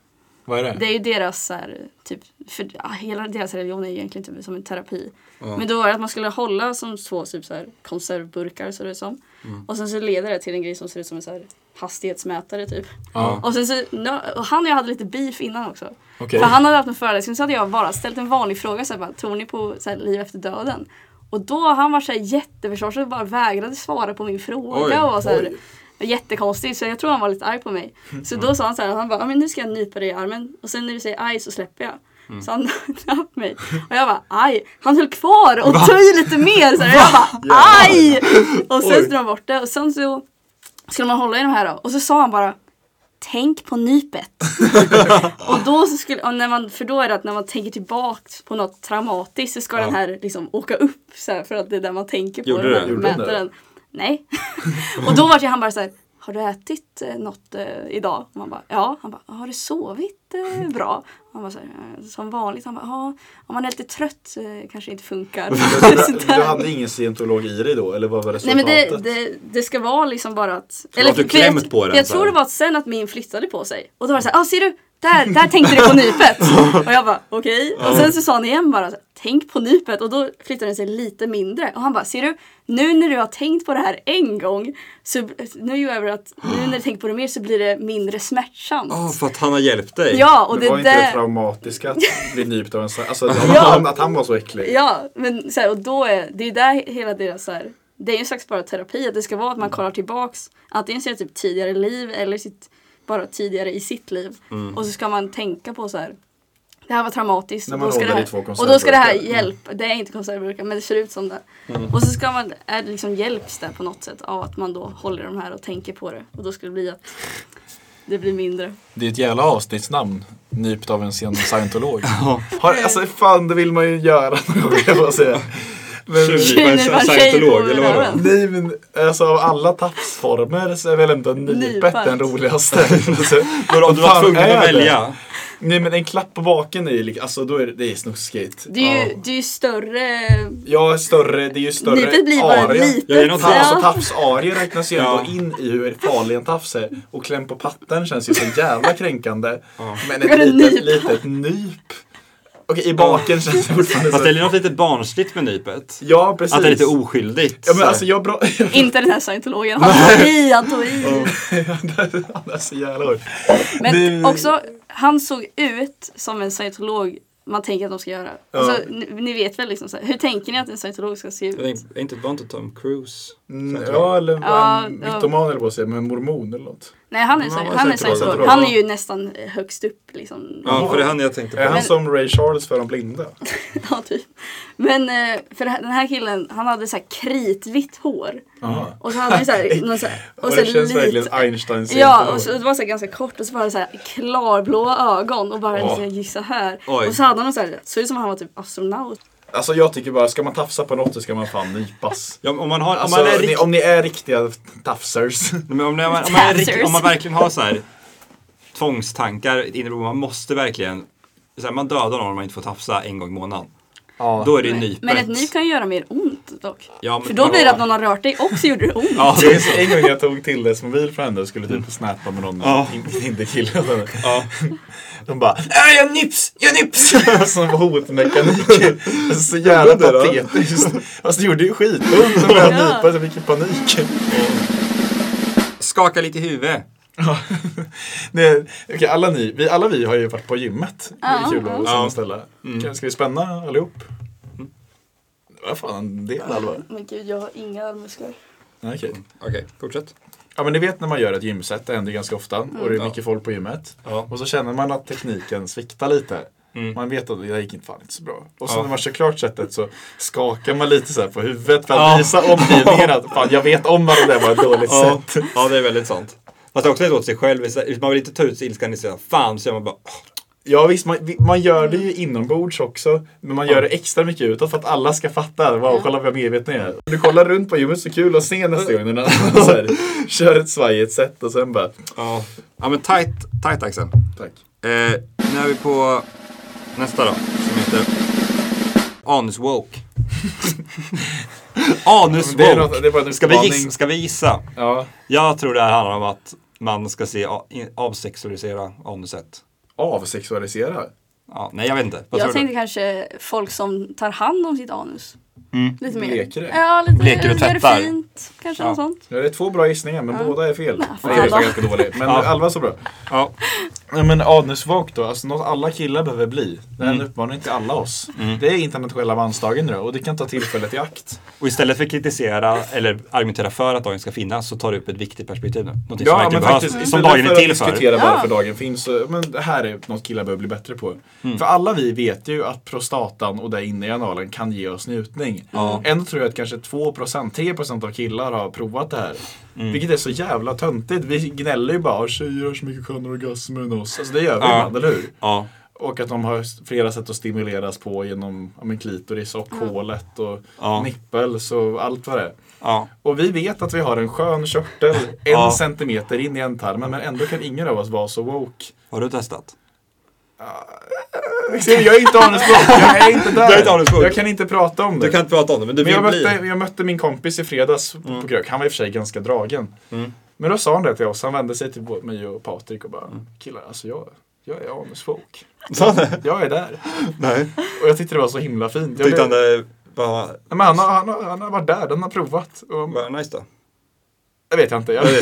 Speaker 7: Vad är det?
Speaker 1: Det är ju deras så här, typ, för ja, hela deras religion är ju egentligen typ som en terapi. Men då var det att man skulle hålla som två typ så här konservburkar ser det ut som. Och sen så leder det till en grej som ser ut som en så här hastighetsmätare typ. Och sen så, nö- och han och jag hade lite beef innan också.
Speaker 7: Okej.
Speaker 1: För han hade haft en föreläsning så hade jag bara ställt en vanlig fråga så här, bara, tror ni på så här, liv efter döden? Och då han var så här jätteförsvarsfull och bara vägrade svara på min fråga
Speaker 2: Oj,
Speaker 1: och var så här, jättekonstig så jag tror han var lite arg på mig. Så då sa han så här, han bara, "Ja, men nu ska jag nypa dig i armen och sen när du säger aj så släpper jag. Så han knapp mig och jag bara aj. Han höll kvar och tog i lite mer så här, och jag bara aj! Och sen drog han bort det och sen så skulle man hålla i de här då. och så sa han bara tänk på nypet. och då så skulle, och när man, för då är det att när man tänker tillbaka på något traumatiskt så ska den här liksom åka upp så här, för att det är det man tänker på.
Speaker 9: Gjorde
Speaker 1: den här
Speaker 9: den?
Speaker 3: Gjorde den det?
Speaker 1: mätaren. Nej. och då var jag han bara så här, har du ätit eh, något eh, idag? Och man bara, ja. Han bara, har du sovit eh, bra? Och han bara så här, "Eh, som vanligt. Han bara, ja. Om man är lite trött eh, kanske det inte funkar. Så där.
Speaker 3: Du hade ingen scientolog i dig då? Eller vad var
Speaker 1: Nej
Speaker 3: resultatet?
Speaker 1: men det, det, det ska vara liksom bara att...
Speaker 9: vara att du
Speaker 1: för
Speaker 9: klämt
Speaker 1: jag,
Speaker 9: på den,
Speaker 1: Jag
Speaker 9: så
Speaker 1: tror
Speaker 9: här.
Speaker 1: det var att sen att min flyttade på sig. Och då var det såhär, ah ser du? Där, där tänkte du på nypet! Och jag bara, okej. Och sen så sa han igen bara, så här, tänk på nypet! Och då flyttade den sig lite mindre. Och han bara, ser du? Nu när du har tänkt på det här en gång, så nu gör det att nu när du tänker på det mer så blir det mindre smärtsamt.
Speaker 9: Ja, för att han har hjälpt dig.
Speaker 1: Ja, och
Speaker 3: Men
Speaker 1: det,
Speaker 3: var
Speaker 1: det
Speaker 3: inte det traumatiska att bli nypt av en sån Alltså att han, att han var så äcklig.
Speaker 1: Ja, men så här, och då är det är där hela deras så här, det är ju en slags bara terapi, att det ska vara att man
Speaker 3: Mm.
Speaker 1: kollar tillbaks antingen sina typ tidigare liv eller sitt, bara tidigare i sitt liv. Och så ska man tänka på så här det här var traumatiskt
Speaker 3: Mm. När
Speaker 1: och
Speaker 3: man
Speaker 1: då, ska det
Speaker 3: håller i
Speaker 1: här,
Speaker 3: två
Speaker 1: och då ska det här
Speaker 3: konservburkar. Mm.
Speaker 1: hjälpa, det är inte konservburkar men det ser ut som det. Och så ska man, är det liksom hjälps det på något sätt av att man då håller de här och tänker på det och då ska det bli att det blir mindre.
Speaker 10: Det är ett jävla avsnittsnamn. Nypt av en scien- scientolog.
Speaker 3: Har, alltså fan, det vill man ju göra någon gång, kan man säga. Men,
Speaker 1: Tjuvnypa en tjej på
Speaker 9: scientolog, eller vadå?
Speaker 1: röven.
Speaker 3: nej men alltså av alla tapsformer så är väl ändå nypet
Speaker 1: Nypat.
Speaker 3: den roligaste. Alltså,
Speaker 9: Men om
Speaker 3: vad
Speaker 9: du var
Speaker 3: fan
Speaker 9: tvungen
Speaker 3: är
Speaker 9: att
Speaker 3: det?
Speaker 9: välja.
Speaker 3: Nej men en klapp på baken är ju lik- alltså då är det, det är snuskigt.
Speaker 1: Det är ju,
Speaker 3: Ja.
Speaker 1: det är ju större,
Speaker 3: Ja, större, det är ju större
Speaker 1: nypet blir bara
Speaker 3: aria.
Speaker 1: litet.
Speaker 9: Jag ger något
Speaker 1: Ja.
Speaker 9: här.
Speaker 3: Alltså tafsarier räknas ju ändå
Speaker 9: Ja.
Speaker 3: in i hur farlig en tafs är. Och kläm på patten känns ju så jävla kränkande. Men
Speaker 1: Ska det
Speaker 3: ett litet,
Speaker 1: nypa?
Speaker 3: litet nyp. Okej, i baken känns det fortfarande
Speaker 9: Fast
Speaker 3: så.
Speaker 9: det är något lite barnsligt med nypet.
Speaker 3: Ja, precis.
Speaker 9: Att det är lite oskyldigt.
Speaker 3: Ja, men alltså jag bra...
Speaker 1: Inte den här scientologen. Han tog i, han tog i.
Speaker 3: Han är så jävla hård.
Speaker 1: Men också, han såg ut som en scientolog man tänker att de ska göra. Alltså, ni, ni vet väl liksom så här, hur tänker ni att en scientolog ska se
Speaker 2: Jag
Speaker 1: ut?
Speaker 2: tänkte, inte, var inte Tom Cruise?
Speaker 3: Mm, Ja, eller
Speaker 1: Ja,
Speaker 3: vad en
Speaker 1: ja.
Speaker 3: mytoman eller på sig, men mormon eller något.
Speaker 1: Nej, han är,
Speaker 3: Han var
Speaker 1: han är
Speaker 3: scientolog.
Speaker 1: scientolog. Han är ju nästan eh, högst upp liksom.
Speaker 2: Ja, för det är han jag tänkte
Speaker 3: Är
Speaker 2: på.
Speaker 3: han
Speaker 1: Men-
Speaker 3: som Ray Charles för de blinda?
Speaker 1: Ja, typ. Men eh, för det här- den här killen, han hade så här kritvitt hår. Och så hade han så här, någon så här,
Speaker 3: Och,
Speaker 1: och så
Speaker 3: det
Speaker 1: här
Speaker 3: känns
Speaker 1: lit,
Speaker 3: verkligen Einsteins
Speaker 1: Ja, och så, det var så här ganska kort och så var det så här klarblåa ögon och bara så här, gissa här.
Speaker 9: Oj.
Speaker 1: Och så hade han så här, såg ut som han var typ astronaut.
Speaker 3: Alltså jag tycker bara, ska man tafsa på något så ska man fan nypas.
Speaker 9: Ja, men om man har... Om
Speaker 3: Alltså,
Speaker 9: man är
Speaker 3: ni,
Speaker 9: rikt-
Speaker 3: om ni är riktiga tafsers.
Speaker 9: Nej, Men om, när man, om, man är rikt,
Speaker 1: Dancers.
Speaker 9: om man verkligen har så här tvångstankar inne på man måste verkligen så här, man dödar någon om man inte får tafsa en gång i månaden. Då är det nypet.
Speaker 1: Men ett nyp kan ju göra mer ont dock.
Speaker 9: Ja, men-
Speaker 1: För då blir det att någon har rört dig också gjorde det ont.
Speaker 9: Ja,
Speaker 3: Det är så- en gång jag tog till det som mobil från henne och skulle typ snappa med någon
Speaker 9: Ja.
Speaker 3: tin- Tinder-kille. Ja. De bara "Äh, jag nyps, jag nyps! Som hotmekanik. Så jävla
Speaker 9: Gjorde det då?
Speaker 3: patetiskt. Fast det gjorde ju skitont när jag nypa så jag fick ju panik.
Speaker 9: Skaka lite i huvudet.
Speaker 3: Nej, okej, alla ni, vi, alla vi har ju varit på gymmet. Det är
Speaker 1: Ja,
Speaker 3: kul
Speaker 1: ja.
Speaker 3: att sammanställa.
Speaker 9: Mm.
Speaker 3: Kan- Ska vi spänna allihop? Vad fan, en del allvar.
Speaker 1: Men gud, jag har inga armmuskler.
Speaker 3: Nej, okej.
Speaker 2: Okej, fortsätt.
Speaker 3: Ja men ni vet när man gör ett gymset, det händer ju ganska ofta och det är mycket folk på gymmet.
Speaker 2: Mm. Ja. Mm.
Speaker 3: Och så känner man att tekniken sviktar lite. Man vet att det här gick inte fan inte så bra. Och så när man kör klart setet så skakar man lite så här på huvudet för att visa omgivningen att fan jag vet om att det där var ett dåligt
Speaker 2: Ja,
Speaker 3: set.
Speaker 2: ja, det är väldigt sant. Fast det är också lite åt sig själv. Man vill inte ta ut sig ilskan i sig. Fan, så gör man bara... "Åh,
Speaker 3: Ja visst, man, vi- man gör det ju inombords också. Men man gör det extra mycket utåt för att alla ska fatta. Wow, kolla vad medveten jag är. Du kollar runt på gymmet, så kul att se nästa gång när någon annan så här, kör ett svajigt set och sen bara
Speaker 2: Ja, ja men tight, tight axel.
Speaker 3: tack.
Speaker 2: Eh, nu är vi på nästa då, som heter Anus Woke. Anus
Speaker 3: Det är,
Speaker 2: Woke.
Speaker 3: något, det är bara en
Speaker 2: Ska vi,
Speaker 3: utmaning.
Speaker 2: gissa? ska vi gissa?
Speaker 3: Ja.
Speaker 2: Jag tror det här handlar om att man ska se a- in- avsexualisera anuset.
Speaker 3: Avsexualisera?
Speaker 2: Ja, nej, jag vet inte. Vad
Speaker 1: Jag
Speaker 2: tror
Speaker 1: tänkte kanske folk som tar hand om sitt anus. Lite mer.
Speaker 3: Leker det?
Speaker 1: Ja, lite
Speaker 2: Leker och
Speaker 1: gör det
Speaker 2: tvättar.
Speaker 1: fint. Kanske något sånt.
Speaker 3: Ja, det är två bra gissningar men båda är fel.
Speaker 1: fan.
Speaker 3: Nej, jag är ganska dålig. Men Alva så bra.
Speaker 2: du? Ja.
Speaker 3: Ja, men anusvak då, alltså något alla killar behöver bli. Det är en uppmaning till alla oss. Det är internationella mansdagen nu och det kan ta tillfället i akt.
Speaker 2: Och istället för att kritisera eller argumentera för att dagen ska finnas så tar du upp ett viktigt perspektiv nu. Någonting som
Speaker 3: Ja, men
Speaker 2: verkligen behövs,
Speaker 3: faktiskt.
Speaker 2: som
Speaker 3: istället
Speaker 2: dagen är
Speaker 3: att
Speaker 2: till för.
Speaker 3: diskutera varför
Speaker 1: Ja.
Speaker 3: dagen finns. så- Men det här är något
Speaker 2: Mm.
Speaker 3: killar behöver bli bättre på. För alla vi vet ju att prostatan och där inne i analen kan ge oss njutning. gissning. Ändå tror jag att kanske 2%, 3% av killar har provat det här.
Speaker 2: Mm.
Speaker 3: Vilket är så jävla töntigt. Vi gnäller ju bara, "Ah, tjejer har så mycket skönare orgasmer än oss. Alltså det gör vi
Speaker 2: Ja.
Speaker 3: ibland, eller hur?
Speaker 2: Ja.
Speaker 3: Och att de har flera sätt att stimuleras på genom ja, men klitoris och hålet och
Speaker 2: Ja.
Speaker 3: nippels och allt vad det är.
Speaker 2: Ja.
Speaker 3: Och vi vet att vi har en skön körtel en
Speaker 2: Ja.
Speaker 3: centimeter in i ändtarmen men ändå kan ingen av oss vara så woke.
Speaker 2: Har du testat?
Speaker 3: Ser du, jag är inte aningsbok. Jag är inte där.
Speaker 2: är inte aningsbok.
Speaker 3: Jag kan inte prata om det.
Speaker 2: Du kan inte prata om det, men du
Speaker 3: Men
Speaker 2: vill
Speaker 3: jag
Speaker 2: bli. Mm.
Speaker 3: mötte, jag mötte min kompis i fredags på krök. Han var i och för sig ganska dragen. Men då sa han det till oss. Han vände sig till både mig och Patrik och bara Killar, alltså jag, jag är anusfolk. Jag är där.
Speaker 2: Nej.
Speaker 3: Och jag tyckte det var så himla fint. Jag
Speaker 2: Tyckte han
Speaker 3: blev-
Speaker 2: det var
Speaker 3: Nej, men han, har, han, har, han har varit där, han har provat. Och,
Speaker 2: var nice då?
Speaker 3: jag vet inte. Jag,
Speaker 2: Du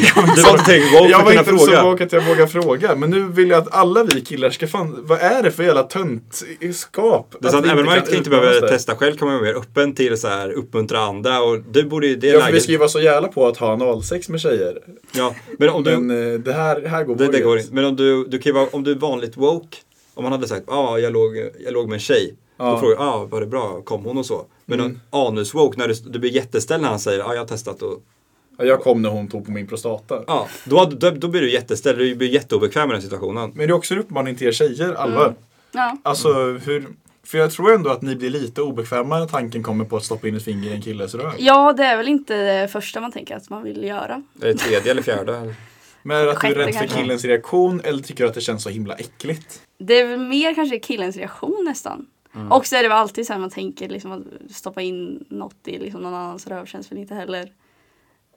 Speaker 2: var inte tillräckligt woke
Speaker 3: jag
Speaker 2: för
Speaker 3: var
Speaker 2: att
Speaker 3: inte
Speaker 2: kunna
Speaker 3: så
Speaker 2: fråga.
Speaker 3: våg att jag vågar fråga. Men nu vill jag att alla vi killar ska fan, vad är det för jävla töntskap?
Speaker 2: Det är så att
Speaker 3: vi
Speaker 2: även om man
Speaker 3: kan
Speaker 2: inte, inte
Speaker 3: utmana oss
Speaker 2: behöver
Speaker 3: där?
Speaker 2: testa själv kan man vara mer öppen till så här uppmuntra andra och du borde ju i det
Speaker 3: Ja, för vi
Speaker 2: läget.
Speaker 3: ska ju vara så jävla på att ha analsex med tjejer.
Speaker 2: Ja, men om du,
Speaker 3: Men eh, det här, här går
Speaker 2: det, det
Speaker 3: våget.
Speaker 2: går inte. Men om du, du kan ju vara, om du är vanligt woke. Om man hade sagt, ja ah, jag, låg, jag låg med en tjej.
Speaker 3: Ja.
Speaker 2: Då frågar jag, ah, var det bra, kom hon och så. Men mm. anus-woke, när du, du blir jätteställd när han säger, ah, jag har testat och
Speaker 3: Ja, jag kom när hon tog på min prostata.
Speaker 2: Ja, då, då, då blir du jätteställd, du blir jätteobekväm i den situationen.
Speaker 3: Men det är också en uppmaning till er tjejer, alla.
Speaker 1: Ja.
Speaker 3: Alltså hur... För jag tror ändå att ni blir lite obekväma när tanken kommer på att stoppa in ett finger i en killes röv.
Speaker 1: ja, det är väl inte det första man tänker att man vill göra.
Speaker 2: Är det tredje eller fjärde? eller?
Speaker 3: Men att du är
Speaker 1: Sjätte
Speaker 3: rädd för
Speaker 1: kanske.
Speaker 3: killens reaktion eller tycker att det känns så himla äckligt.
Speaker 1: Det är väl mer kanske killens reaktion nästan.
Speaker 2: Mm.
Speaker 1: Och så är det väl alltid så här man tänker liksom att stoppa in något i liksom någon annans röv känns väl inte heller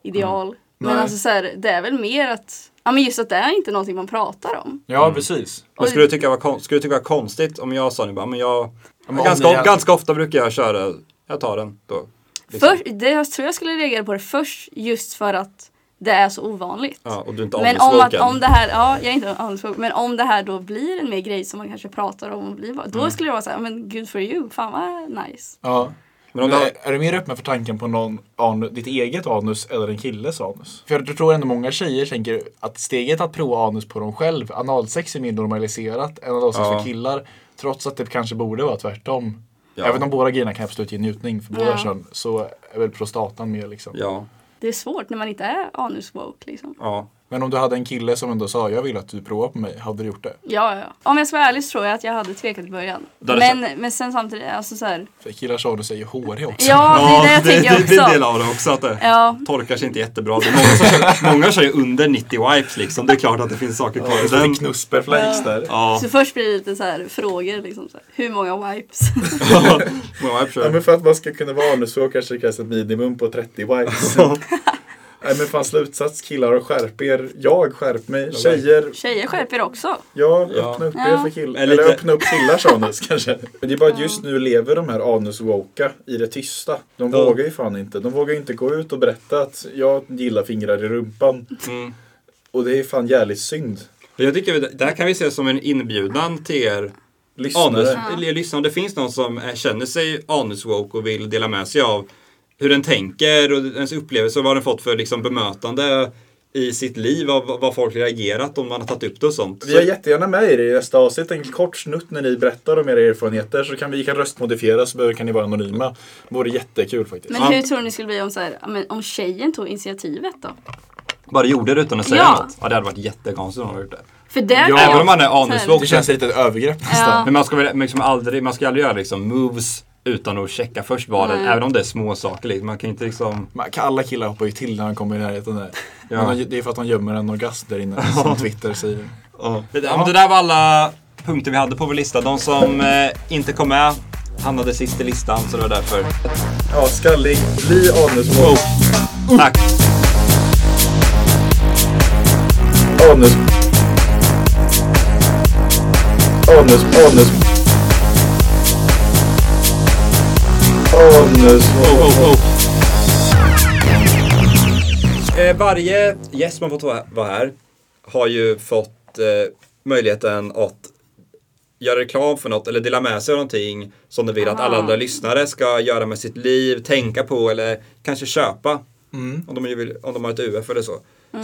Speaker 1: ideal.
Speaker 2: Mm.
Speaker 1: Men
Speaker 3: Nej.
Speaker 1: alltså så här, det är väl mer att, ja men just att det är inte någonting man pratar om.
Speaker 3: Ja,
Speaker 2: Mm.
Speaker 3: precis.
Speaker 1: Och-
Speaker 2: Men skulle, du tycka var kon- skulle du tycka var konstigt om jag sa nu bara, men jag...
Speaker 3: men om
Speaker 2: ganska,
Speaker 3: ni är-
Speaker 2: ganska ofta brukar jag köra, jag tar den då. liksom?
Speaker 1: För, det, jag tror jag skulle reagera på det först just för att det är så ovanligt.
Speaker 2: Ja, och du är inte
Speaker 1: Men om, att,
Speaker 2: anuswoken.
Speaker 1: om det här, ja jag är inte anuswoken, men om det här då blir en mer grej som man kanske pratar om, och blir, bara-
Speaker 2: Mm.
Speaker 1: då skulle jag vara såhär, men good for you, fan vad nice.
Speaker 3: Ja.
Speaker 2: Men om du
Speaker 3: Men
Speaker 2: har,
Speaker 3: är du mer öppen för tanken på någon anu, ditt eget anus eller en killes anus? För jag tror ändå många tjejer tänker att steget att prova anus på dem själv, analsex är mer normaliserat än analsex
Speaker 2: Ja.
Speaker 3: för killar. Trots att det kanske borde vara tvärtom.
Speaker 2: Ja.
Speaker 3: Även om båda grejerna kan absolut ge njutning för båda
Speaker 1: Ja.
Speaker 3: kön så är väl prostatan mer liksom.
Speaker 2: ja,
Speaker 1: Det är svårt när man inte är anuswoke liksom.
Speaker 2: ja.
Speaker 3: Men om du hade en kille som ändå sa jag vill att du provar på mig, hade du gjort det?
Speaker 1: Ja, ja. Om jag ska vara ärlig så tror jag att jag hade tvekat i början.
Speaker 2: Där är
Speaker 1: Men, men sen samtidigt, alltså så här.
Speaker 3: För killars anus är ju håriga också.
Speaker 1: Ja, det är det
Speaker 2: Ja,
Speaker 1: jag tänker
Speaker 2: det, det är en del
Speaker 1: också.
Speaker 2: av det också. Att det
Speaker 1: Ja.
Speaker 2: torkar sig inte jättebra. Det är många, som kör, många kör ju under 90 wipes liksom. Det är klart att det finns saker kvar i den.
Speaker 3: Knusperflakes där.
Speaker 2: Ja,
Speaker 1: Så först blir det lite så här frågor liksom. Så här, hur många wipes?
Speaker 2: många wipes
Speaker 3: Ja,
Speaker 2: kör.
Speaker 3: men för att man ska kunna vara anusvåg kanske det krävs ett minimum på 30 wipes. Nej men fan slutsats killar, skärp er. Jag skärp mig. Tjejer,
Speaker 1: Tjejer skärper också.
Speaker 3: ja, öppna upp er
Speaker 1: Ja.
Speaker 3: för killar.
Speaker 2: Eller
Speaker 3: Eller
Speaker 2: lite-
Speaker 3: öppna upp killars anus kanske. Men det är bara att just nu lever de här anuswoka i det tysta. De vågar ju fan inte. De vågar ju inte gå ut och berätta att jag gillar fingrar i rumpan.
Speaker 2: Mm.
Speaker 3: Och det är fan jävligt synd.
Speaker 2: Men Jag tycker det här kan vi se som en inbjudan till er
Speaker 3: Lyssnare.
Speaker 2: anus, eller lyssna om det finns någon som eh, känner sig anuswoke och vill dela med sig av hur den tänker och ens upplevelse och vad den fått för liksom bemötande i sitt liv av vad folk reagerat om man har tagit upp det och sånt.
Speaker 3: Vi har jättegärna med er i nästa avsnitt. En kort snutt när ni berättar om era erfarenheter. Så kan vi kan röstmodifiera så behöver- kan ni vara anonyma. Det vore jättekul faktiskt.
Speaker 1: Men hur tror ni skulle bli om, så här, ja, men om tjejen tog initiativet då?
Speaker 2: Bara gjorde det utan att
Speaker 1: säga Ja. något.
Speaker 2: Ja, det hade varit jättekonstigt om man hade gjort det.
Speaker 1: För det
Speaker 3: Ja,
Speaker 1: kan
Speaker 2: Även
Speaker 1: jag-
Speaker 2: om man är
Speaker 1: så här-
Speaker 2: anuswoke.
Speaker 3: Det känns lite ett övergrepp nästan.
Speaker 1: Ja.
Speaker 2: Men man ska, väl liksom aldrig, man ska aldrig göra liksom moves utan att checka först vad det
Speaker 1: Nej.
Speaker 2: även om det är små saker. Liksom. Man kan inte liksom...
Speaker 3: Man- Alla killar hoppar ju till när han kommer i närheten där.
Speaker 2: Ja.
Speaker 3: Men Det är för att de gömmer en orgasm där inne, som Twitter säger.
Speaker 2: Det, ja, men det där var alla punkter vi hade på vår lista. De som eh, inte kom med hamnade sist i listan, så det var därför.
Speaker 3: Ja, skallig. Bli anuswoke.
Speaker 2: Tack!
Speaker 3: Anus. Anus, anus. Anuswoke.
Speaker 2: Eh, varje gäst man fått va- vara här har ju fått eh, möjligheten att göra reklam för något eller dela med sig av någonting som de vill att alla andra lyssnare ska göra med sitt liv, tänka på eller kanske köpa.
Speaker 11: Mm.
Speaker 2: Om, de ju vill, om de har ett UF eller så.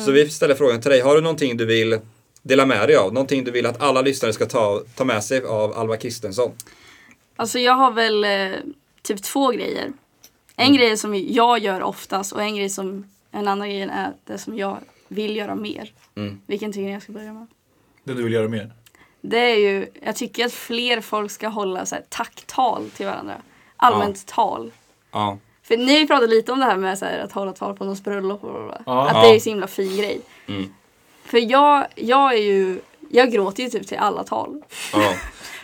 Speaker 2: Så vi ställer frågan till dig, har du någonting du vill dela med dig av? Någonting du vill att alla lyssnare ska ta, ta med sig av Alva Kristensson?
Speaker 1: Alltså jag har väl eh, typ två grejer.
Speaker 2: Mm.
Speaker 1: En grej som jag gör oftast och en grej som en annan grej är det som jag vill göra mer.
Speaker 2: Mm.
Speaker 1: Vilken tycker ni jag ska börja med?
Speaker 3: Det du vill göra mer?
Speaker 1: Det är ju, jag tycker att fler folk ska hålla så här tacktal till varandra. Allmänt tal.
Speaker 11: Ja.
Speaker 1: För ni har ju pratat lite om det här med så här, att hålla tal på någons bröllop och bla bla. bla.
Speaker 3: Ja.
Speaker 1: Att det är ju så himla fin grej.
Speaker 11: Mm.
Speaker 1: För jag, jag är ju, jag gråter ju typ till alla tal.
Speaker 11: Ja.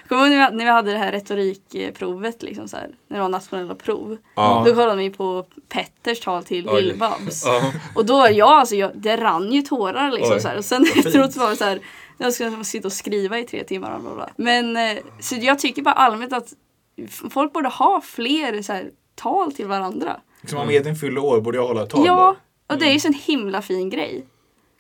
Speaker 1: Kommer du ihåg när vi- när vi hade det här retorikprovet liksom så här, när det var nationella prov?
Speaker 11: Ja.
Speaker 1: Då kollade vi på Petters tal till
Speaker 2: Oj.
Speaker 1: Lill-Babs.
Speaker 2: Ja.
Speaker 1: Och då är jag, alltså jag, det rann ju tårar liksom
Speaker 2: Oj.
Speaker 1: så här. Och sen efteråt var det så här, jag ska sitta och skriva i tre timmar och bla bla. Men eh, så jag tycker bara allmänt att f- folk borde ha fler så här, tal till varandra.
Speaker 3: Liksom om Edvin fyller år borde jag hålla ett tal
Speaker 1: ja,
Speaker 3: då?
Speaker 1: och det
Speaker 2: Mm.
Speaker 1: är ju så en himla fin grej.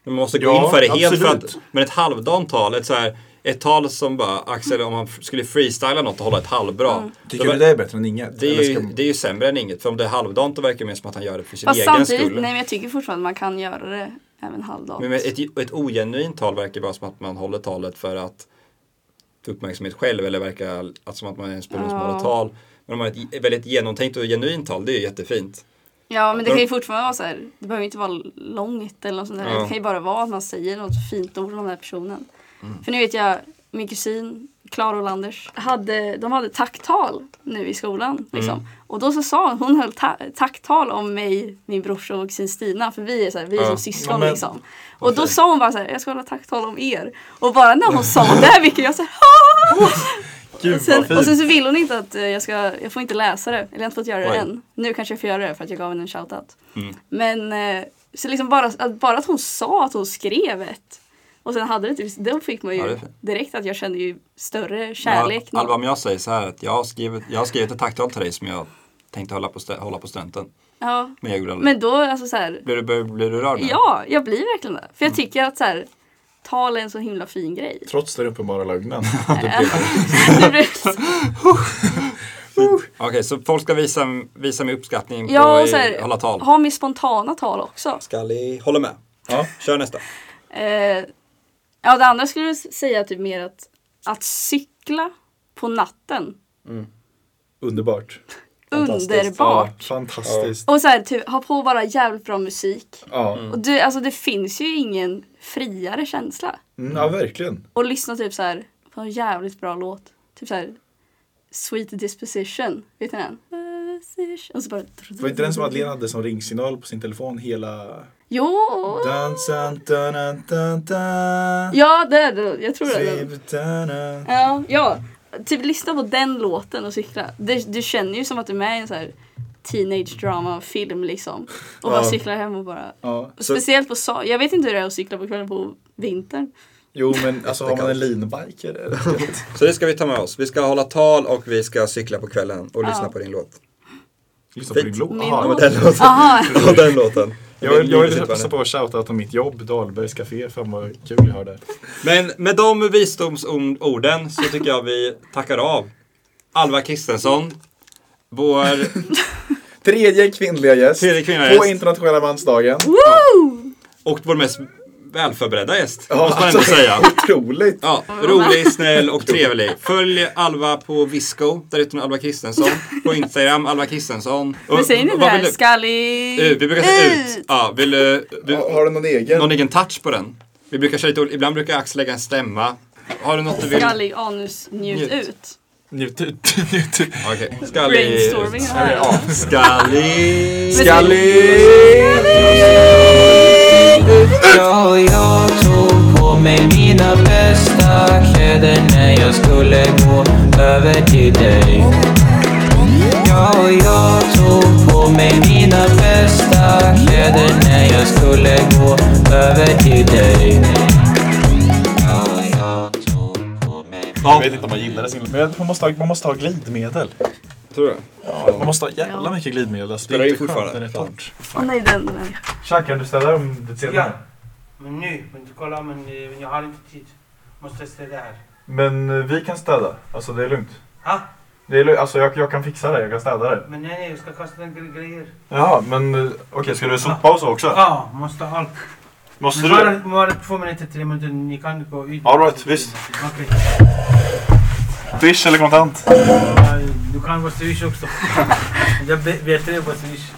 Speaker 2: Men Man måste gå
Speaker 3: Ja,
Speaker 2: in för det helt för att,
Speaker 3: absolut.
Speaker 2: men ett halvdant tal, ett, så här, ett tal som bara, Axel om han f- skulle freestyla något och hålla ett halvbra.
Speaker 3: Tycker
Speaker 2: då,
Speaker 3: du det är bättre än inget?
Speaker 2: det, är
Speaker 3: Eller ska
Speaker 2: ju,
Speaker 3: man-
Speaker 2: det är ju sämre än inget, för om det är halvdant då verkar det mer som att han gör det för sin
Speaker 1: Fast
Speaker 2: egen
Speaker 1: samtidigt, nej
Speaker 2: skull.
Speaker 1: men jag tycker fortfarande man kan göra det även halvdag.
Speaker 2: Men med ett, ett ogenuint tal verkar vara som att man håller talet för att få uppmärksamhet själv eller verkar att, som att man är en person som
Speaker 1: Ja.
Speaker 2: håller tal. Men om man har ett ge- väldigt genomtänkt och genuint tal, det är ju jättefint.
Speaker 1: Ja men det kan ju fortfarande vara så här, det behöver inte vara långt eller något sånt där.
Speaker 2: Ja.
Speaker 1: Det kan ju bara vara att man säger något fint ord om den här personen.
Speaker 3: Mm.
Speaker 1: För nu vet jag, min kusin Klara Olanders, hade, de hade tacktal nu i
Speaker 3: Mm.
Speaker 1: skolan. Liksom. Och då så sa hon, hon höll ta- tacktal om mig, min brorsa och sin Stina. För vi är, så här, vi är som syskon
Speaker 3: Ja, men-
Speaker 1: liksom. Och då sa hon bara så här, jag ska hålla tacktal om er. Och bara när hon sa det här vilket jag så här,
Speaker 3: Gud
Speaker 1: Sen,
Speaker 3: vad
Speaker 1: och sen
Speaker 3: fint!
Speaker 1: så vill hon inte att eh, jag ska, jag får inte läsa det. Eller jag har inte fått göra det
Speaker 2: Oj. Mm.
Speaker 1: än. Nu kanske jag får göra det för att jag gav henne en shoutout. Men eh, så liksom bara att, bara att hon sa att hon skrev ett. Och sen hade det typ, då fick man ju
Speaker 2: Ja, det är fint.
Speaker 1: direkt att jag kände ju större kärlek.
Speaker 2: Alva, om jag säger så här att jag har skrivit, jag har skrivit ett tacktal till dig som jag tänkte hålla på, stu- hålla på studenten.
Speaker 1: ja.
Speaker 2: Men jag gjorde aldrig.
Speaker 1: Men då alltså så här,
Speaker 2: Blir du, blir, blir du rörd nu?
Speaker 1: ja, jag blir verkligen det.
Speaker 2: Mm.
Speaker 1: För jag tycker att så här, tal är en så himla fin grej.
Speaker 3: Trots den uppenbara lögnen.
Speaker 1: Det blir-
Speaker 2: Okej, så folk ska visa, visa mig uppskattning
Speaker 1: ja,
Speaker 2: på
Speaker 1: och så
Speaker 2: i,
Speaker 1: här,
Speaker 2: hålla tal.
Speaker 1: ha med spontana tal också.
Speaker 2: Skalli håller med. Ja, kör nästa.
Speaker 1: Eh, ja, det andra skulle jag säga typ mer att, att cykla på natten.
Speaker 3: Underbart.
Speaker 2: Fantastiskt.
Speaker 1: Underbart.
Speaker 3: Fantastiskt.
Speaker 1: Och så här, typ, ha på bara jävligt bra musik.
Speaker 3: Ja,
Speaker 1: Och du, alltså, det finns ju ingen friare känsla.
Speaker 3: mm, ja verkligen.
Speaker 1: Och lyssna typ så här, på en jävligt bra låt. Typ så här, Sweet Disposition. Vet ni den? Och så bara...
Speaker 3: Var inte den som Madeleine hade som ringsignal på sin telefon hela...
Speaker 1: Jo!
Speaker 3: Dansan, danan, dan, dan.
Speaker 1: Ja, det är det. Jag tror det är den.
Speaker 3: Sweet, danan.
Speaker 1: Ja, ja. Typ lyssna på den låten och cykla. Du, du känner ju som att du är med i en så här teenage drama film liksom. Och bara
Speaker 3: Ja.
Speaker 1: cyklar hem och bara.
Speaker 3: Ja.
Speaker 1: Och Speciellt på så, jag vet inte hur det är att cykla på kvällen på vintern.
Speaker 3: Jo men alltså har man en linbiker? är det gött.
Speaker 2: Så det ska vi ta med oss. Vi ska hålla tal och vi ska cykla på kvällen och lyssna på din låt.
Speaker 3: Lyssna på
Speaker 2: Fint.
Speaker 3: din låt.
Speaker 1: Min
Speaker 3: Aha,
Speaker 2: Ja, men
Speaker 1: låt.
Speaker 2: den låten.
Speaker 1: Aha.
Speaker 2: Ja, den låten.
Speaker 3: Jag vill, jag
Speaker 2: Lite
Speaker 3: vill passa
Speaker 2: sittande.
Speaker 3: på att shouta om mitt jobb, Dahlbergs Café. Fan vad kul jag har där.
Speaker 2: Men med de visdomsorden så tycker jag vi tackar av Alva Kristensson, vår
Speaker 3: Tredje kvinnliga gäst
Speaker 2: Tredje kvinnliga gäst.
Speaker 3: på internationella mansdagen.
Speaker 1: Woo!
Speaker 2: och vår mest välförberedda gäst,
Speaker 3: Ja,
Speaker 2: måste man ändå
Speaker 3: alltså.
Speaker 2: säga.
Speaker 3: Otroligt!
Speaker 2: Ja, rolig, snäll och trevlig. Följ Alva på Visco, där heter hon Alva Kristensson. På Instagram, Alva Kristensson. Och-
Speaker 1: Men säger ni
Speaker 2: och
Speaker 1: det
Speaker 2: vad
Speaker 1: här?
Speaker 2: vill du?
Speaker 1: Skallig
Speaker 2: Ut, Vi brukar säga ut. Ja, vill du, du
Speaker 3: Har du någon egen?
Speaker 2: någon egen touch på den? Vi brukar köra lite ol- ibland brukar Axel lägga en stämma. Har du något du vill?
Speaker 1: Skallig anus njut
Speaker 2: Njut.
Speaker 1: ut.
Speaker 3: Njut ut, njut ut.
Speaker 2: Okej, skallig.
Speaker 1: Brainstorming här.
Speaker 2: Skallig.
Speaker 5: Ja, jag tog på mig mina bästa kläder när jag skulle gå över till dig. Ja, jag tog på mig mina bästa kläder när jag skulle gå över till dig. Ja, jag tog på mig
Speaker 3: Jag vet inte om man gillar det så himla- men jag- man måste, ha, man måste ha glidmedel.
Speaker 2: Tror du?
Speaker 3: Man måste ha jävla mycket glidmedel. Alltså, det
Speaker 2: Spelar
Speaker 3: är
Speaker 2: in
Speaker 3: inte skönt
Speaker 2: fortfarande.
Speaker 3: när det är torrt.
Speaker 1: Åh nej, den. den.
Speaker 3: Tja, kan du ställa om det senare?
Speaker 12: Men nu, men kolla men eh, men jag har inte tid. Måste städa här.
Speaker 3: Men eh, vi kan städa. Alltså det är lugnt.
Speaker 12: Ha?
Speaker 3: Det är lugnt. Alltså jag, jag kan fixa det. Jag kan städa det.
Speaker 12: Men nej, nej, jag ska kasta en gre- grejer.
Speaker 3: Jaha, men eh, okej. ska du sopa och så också?
Speaker 12: Ja, måste allt.
Speaker 3: Måste
Speaker 12: Men
Speaker 3: du?
Speaker 12: bara, bara två minuter, tre minuter, ni kan gå ut.
Speaker 3: All right, visst.
Speaker 12: Okej.
Speaker 8: Swish eller kontant?
Speaker 12: Ja, Du kan vara swish också. Jag är bättre på swish.